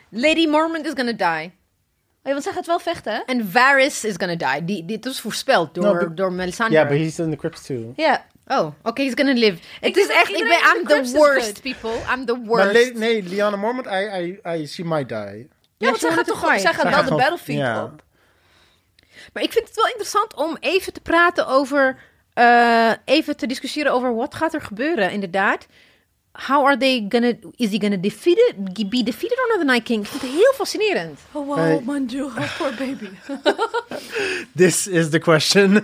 [SPEAKER 2] Lady Mormont is gonna die.
[SPEAKER 3] Oh, ja, want zij gaat wel vechten, hè?
[SPEAKER 2] En Varys is gonna die. Die, dit was voorspeld door,
[SPEAKER 1] No, but-
[SPEAKER 2] door Melisandre.
[SPEAKER 1] Yeah, but he's still in the crypts too.
[SPEAKER 3] Ja.
[SPEAKER 2] Oh, oké, he's gonna live. Het is
[SPEAKER 3] denk dat
[SPEAKER 2] echt, ik
[SPEAKER 3] iedereen
[SPEAKER 2] ben,
[SPEAKER 3] in de
[SPEAKER 2] I'm
[SPEAKER 3] Crypts
[SPEAKER 2] the
[SPEAKER 3] is
[SPEAKER 2] worst,
[SPEAKER 3] dood.
[SPEAKER 2] people. I'm the
[SPEAKER 1] Maar
[SPEAKER 2] worst.
[SPEAKER 1] Le- nee, Liana Mormont, I, I, I, she might die.
[SPEAKER 3] Ja, want zij
[SPEAKER 2] she wanted
[SPEAKER 3] gaat toch
[SPEAKER 2] to
[SPEAKER 3] ook,
[SPEAKER 2] fight.
[SPEAKER 3] zij gaat
[SPEAKER 1] Zij
[SPEAKER 3] wel
[SPEAKER 1] gaat
[SPEAKER 3] de
[SPEAKER 1] gewoon-
[SPEAKER 3] battlefield
[SPEAKER 1] ja.
[SPEAKER 3] op.
[SPEAKER 2] Maar ik vind het wel interessant om even te praten over... eh, even te discussiëren over wat gaat er gebeuren, inderdaad. How are they gonna... Is he gonna defeated, be defeated or not the Night King? Ik vind het heel fascinerend.
[SPEAKER 3] Oh, wow,
[SPEAKER 1] Hey.
[SPEAKER 3] man, dude, oh, poor baby.
[SPEAKER 1] This is the question. [LAUGHS]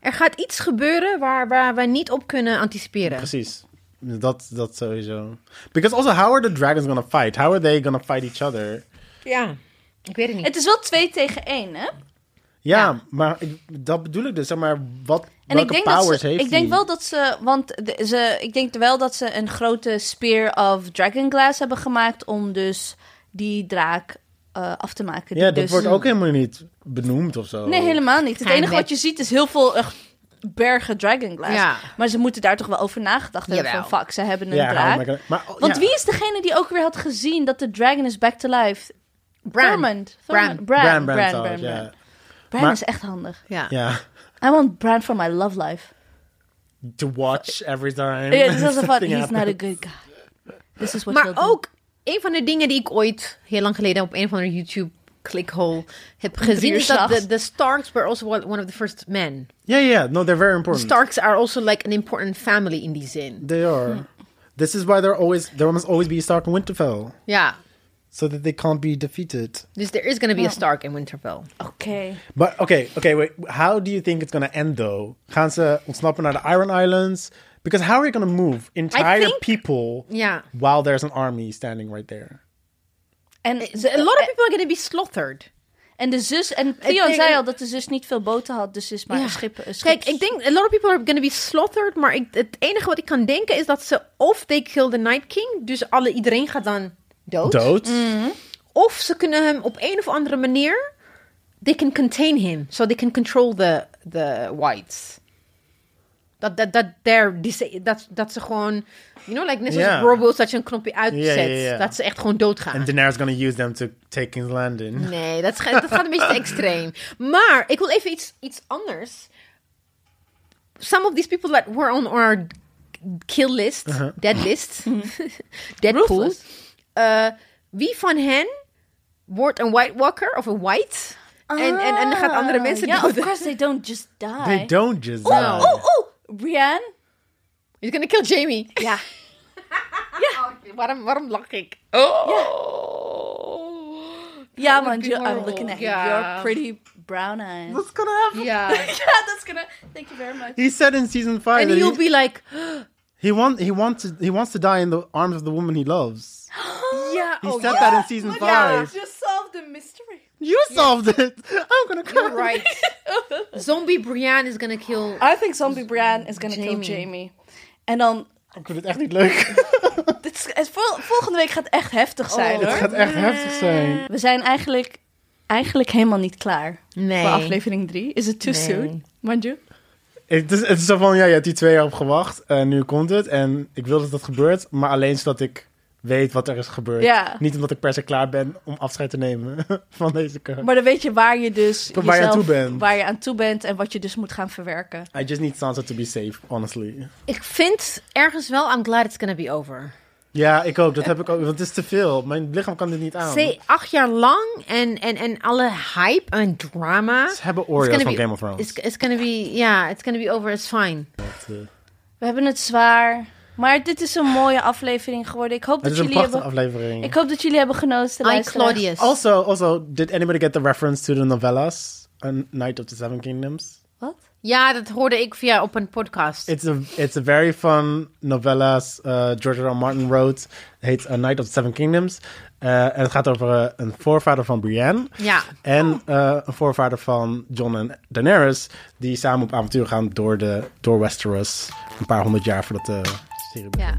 [SPEAKER 2] Er gaat iets gebeuren waar, waar wij niet op kunnen anticiperen.
[SPEAKER 1] Precies. Dat, dat sowieso. Because also, how are the dragons gonna fight? How are they gonna fight each other?
[SPEAKER 2] Ja, ik weet het niet.
[SPEAKER 3] [LAUGHS] het is wel twee tegen één, hè?
[SPEAKER 1] Ja,
[SPEAKER 2] Ja.
[SPEAKER 1] maar ik- dat bedoel ik dus. Zeg maar, wat,
[SPEAKER 3] En
[SPEAKER 1] welke
[SPEAKER 3] ik denk,
[SPEAKER 1] powers
[SPEAKER 3] dat ze,
[SPEAKER 1] heeft
[SPEAKER 3] ik denk
[SPEAKER 1] hij?
[SPEAKER 3] wel dat ze, want de- ze, ik denk wel dat ze een grote spear of dragonglass hebben gemaakt om dus die draak eh, af te maken. Die
[SPEAKER 1] Ja, dat
[SPEAKER 3] dus-
[SPEAKER 1] wordt ook helemaal niet benoemd of zo.
[SPEAKER 3] Nee, helemaal niet. Het
[SPEAKER 2] Geen
[SPEAKER 3] enige
[SPEAKER 2] wet.
[SPEAKER 3] wat je ziet is heel veel echt bergen dragonglass.
[SPEAKER 2] Ja.
[SPEAKER 3] Maar ze moeten daar toch wel over nagedacht hebben
[SPEAKER 2] Jawel.
[SPEAKER 3] van fuck, ze hebben een
[SPEAKER 1] Ja,
[SPEAKER 3] draak.
[SPEAKER 1] maar, maar- oh,
[SPEAKER 3] Want
[SPEAKER 1] ja.
[SPEAKER 3] wie is degene die ook weer had gezien dat de dragon is back to life?
[SPEAKER 2] Bran.
[SPEAKER 3] Thurmond.
[SPEAKER 2] Bran.
[SPEAKER 3] Thurmond. Bran.
[SPEAKER 1] Bran, Bran,
[SPEAKER 3] Bran,
[SPEAKER 1] Bran,
[SPEAKER 3] Bran,
[SPEAKER 1] ja.
[SPEAKER 3] Bran. Bran
[SPEAKER 1] Maar-
[SPEAKER 3] is echt handig.
[SPEAKER 2] Ja.
[SPEAKER 1] Ja.
[SPEAKER 3] I want Bran for my love life.
[SPEAKER 1] [LAUGHS] To watch every time. [LAUGHS]
[SPEAKER 3] Ja, dit was een van,
[SPEAKER 1] something
[SPEAKER 3] he's not a
[SPEAKER 1] happens.
[SPEAKER 3] good guy. This is what
[SPEAKER 2] Maar
[SPEAKER 3] he'll do.
[SPEAKER 2] ook een van de dingen die ik ooit heel lang geleden op een van de YouTube clickhole heb gezien
[SPEAKER 3] uur
[SPEAKER 2] is dat
[SPEAKER 3] s'nachts.
[SPEAKER 2] de de Starks were also one one of the first men.
[SPEAKER 1] Ja, ja, no, they're very important.
[SPEAKER 2] Starks are also like an important family in die zin.
[SPEAKER 1] They are. This is why they're always, there must always be a Stark in Winterfell.
[SPEAKER 2] Ja,
[SPEAKER 1] So that they can't be defeated.
[SPEAKER 2] dus there is gonna be a Stark in Winterfell.
[SPEAKER 3] Oké.
[SPEAKER 1] But okay, okay, wait. How do you think it's gonna end though? Gaan ze ontsnappen naar de Iron Islands? Because how are you gonna move entire
[SPEAKER 2] think-
[SPEAKER 1] people
[SPEAKER 2] Ja.
[SPEAKER 1] while there's an army standing right there?
[SPEAKER 3] En,
[SPEAKER 2] A lot of people are gonna be slaughtered.
[SPEAKER 3] en de zus, en Theon
[SPEAKER 2] denk-
[SPEAKER 3] zei al dat de zus niet veel boten had, dus ze is maar
[SPEAKER 2] Ja.
[SPEAKER 3] een schip. een
[SPEAKER 2] Kijk,
[SPEAKER 3] schips-
[SPEAKER 2] ik denk a lot of people are gonna be slaughtered, maar ik, het enige wat ik kan denken is dat ze of they kill the Night King, dus alle iedereen gaat dan dood.
[SPEAKER 1] Dood?
[SPEAKER 2] Of ze kunnen hem op een of andere manier. They can contain him. So they can control the, the whites. Dat, dat, dat, they're disa- dat, dat ze gewoon. You know, like net zoals
[SPEAKER 1] Ja.
[SPEAKER 2] robots dat je een knopje uitzet.
[SPEAKER 1] Ja, ja, ja.
[SPEAKER 2] Dat ze echt gewoon doodgaan.
[SPEAKER 1] And Daenerys gonna use them to take King's Landing.
[SPEAKER 2] Nee, dat, ga- dat gaat een beetje te extreem. Maar ik wil even iets, iets anders. Some of these people that were on our kill list, dead
[SPEAKER 3] [LAUGHS]
[SPEAKER 2] list,
[SPEAKER 3] Hmm.
[SPEAKER 2] Deadpool.
[SPEAKER 3] Ruthless.
[SPEAKER 2] eh, wie van hen wordt een White Walker of een White? En, en, en gaat andere
[SPEAKER 3] Ah,
[SPEAKER 2] mensen
[SPEAKER 3] Ja, of
[SPEAKER 2] doden.
[SPEAKER 3] course they don't just die.
[SPEAKER 1] They don't just
[SPEAKER 3] Oeh,
[SPEAKER 2] Oh,
[SPEAKER 1] die.
[SPEAKER 3] oeh, oeh. Brienne?
[SPEAKER 2] He's gonna kill Jamie.
[SPEAKER 3] [LAUGHS] Ja.
[SPEAKER 2] waarom, waarom lach ik? Oh.
[SPEAKER 3] Ja,
[SPEAKER 2] would
[SPEAKER 3] man,
[SPEAKER 2] be
[SPEAKER 3] you- I'm
[SPEAKER 2] horrible.
[SPEAKER 3] looking at
[SPEAKER 2] Ja.
[SPEAKER 3] your pretty brown eyes. [LAUGHS]
[SPEAKER 1] What's gonna happen?
[SPEAKER 2] Ja.
[SPEAKER 3] yeah, that's gonna... Thank you very much.
[SPEAKER 1] He said in season five
[SPEAKER 2] And
[SPEAKER 1] that he,
[SPEAKER 2] you'll be like,
[SPEAKER 1] he want he wants to, he wants to die in the arms of the woman he
[SPEAKER 3] [GASPS]
[SPEAKER 1] loves.
[SPEAKER 2] yeah,
[SPEAKER 1] He
[SPEAKER 2] oh,
[SPEAKER 1] said
[SPEAKER 2] yeah,
[SPEAKER 1] that in season five.
[SPEAKER 3] just solved the mystery. [LAUGHS]
[SPEAKER 1] You solved it. [LAUGHS] I'm gonna cry.
[SPEAKER 2] you're right.
[SPEAKER 3] Oh,
[SPEAKER 2] Zombie Brienne is gonna kill.
[SPEAKER 3] I think zombie Brienne is gonna
[SPEAKER 2] Dus Jamie.
[SPEAKER 3] kill Jamie. En dan...
[SPEAKER 1] [LAUGHS] Ik vind het echt niet leuk. [LAUGHS]
[SPEAKER 3] Dit is, het vol- volgende week gaat echt
[SPEAKER 2] Oh,
[SPEAKER 3] heftig zijn,
[SPEAKER 1] Het
[SPEAKER 3] hoor.
[SPEAKER 1] gaat echt heftig zijn.
[SPEAKER 3] We zijn eigenlijk, eigenlijk helemaal niet klaar
[SPEAKER 2] Nee.
[SPEAKER 3] voor aflevering 3. Is het too
[SPEAKER 2] Nee.
[SPEAKER 3] soon? Mind you?
[SPEAKER 1] Het is, het is zo van, ja, je hebt die twee jaar op gewacht en nu komt het. En ik wil dat dat gebeurt, maar alleen zodat ik weet wat er is gebeurd.
[SPEAKER 3] Ja.
[SPEAKER 1] Niet omdat ik per se klaar ben om afscheid te nemen [LAUGHS] van deze karakter.
[SPEAKER 3] Maar dan weet je waar je dus
[SPEAKER 1] Waar je aan
[SPEAKER 3] jezelf-
[SPEAKER 1] toe bent.
[SPEAKER 3] waar je aan toe bent en wat je dus moet gaan verwerken.
[SPEAKER 1] I just need Sansa to be safe, honestly.
[SPEAKER 2] Ik vind ergens wel, I'm glad it's gonna be over.
[SPEAKER 1] Ja, ik ook. Dat heb ik ook. Want het is te veel. Mijn lichaam kan dit niet aan.
[SPEAKER 2] Ze acht jaar lang en, en, en alle hype en drama.
[SPEAKER 1] Ze hebben
[SPEAKER 2] It's
[SPEAKER 1] Oreos
[SPEAKER 2] gonna
[SPEAKER 1] van
[SPEAKER 2] be-
[SPEAKER 1] Game of Thrones.
[SPEAKER 2] It's, it's gonna be, yeah, it's gonna be over, it's fine.
[SPEAKER 1] Dat, eh,
[SPEAKER 3] We hebben het zwaar. Maar dit is een mooie aflevering geworden. Ik hoop,
[SPEAKER 1] Het
[SPEAKER 3] dat
[SPEAKER 1] is een
[SPEAKER 3] jullie,
[SPEAKER 1] prachtige
[SPEAKER 3] hebben,
[SPEAKER 1] aflevering.
[SPEAKER 3] ik hoop dat jullie hebben genoten.
[SPEAKER 2] I,
[SPEAKER 3] luisteraars.
[SPEAKER 2] Claudius.
[SPEAKER 1] Also, also, did anybody get the reference to the novellas? A Night of the Seven Kingdoms?
[SPEAKER 3] Wat?
[SPEAKER 2] Ja, dat hoorde ik via op een podcast.
[SPEAKER 1] It's a it's a very fun novellas. Uh, George R. R. Martin wrote. Het heet A Night of the Seven Kingdoms. Eh, en het gaat over eh, een voorvader van Brienne.
[SPEAKER 2] Ja.
[SPEAKER 1] En eh, een voorvader van Jon en Daenerys. Die samen op avontuur gaan door, de, door Westeros. Een paar honderd jaar voordat de serie begint.
[SPEAKER 2] ja.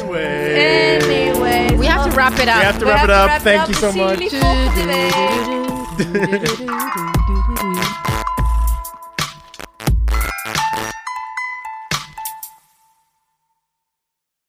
[SPEAKER 3] Anyway.
[SPEAKER 2] We have to to wrap it up.
[SPEAKER 3] We have to wrap it up. Thank you so
[SPEAKER 2] We zien jullie volgende week.
[SPEAKER 3] much.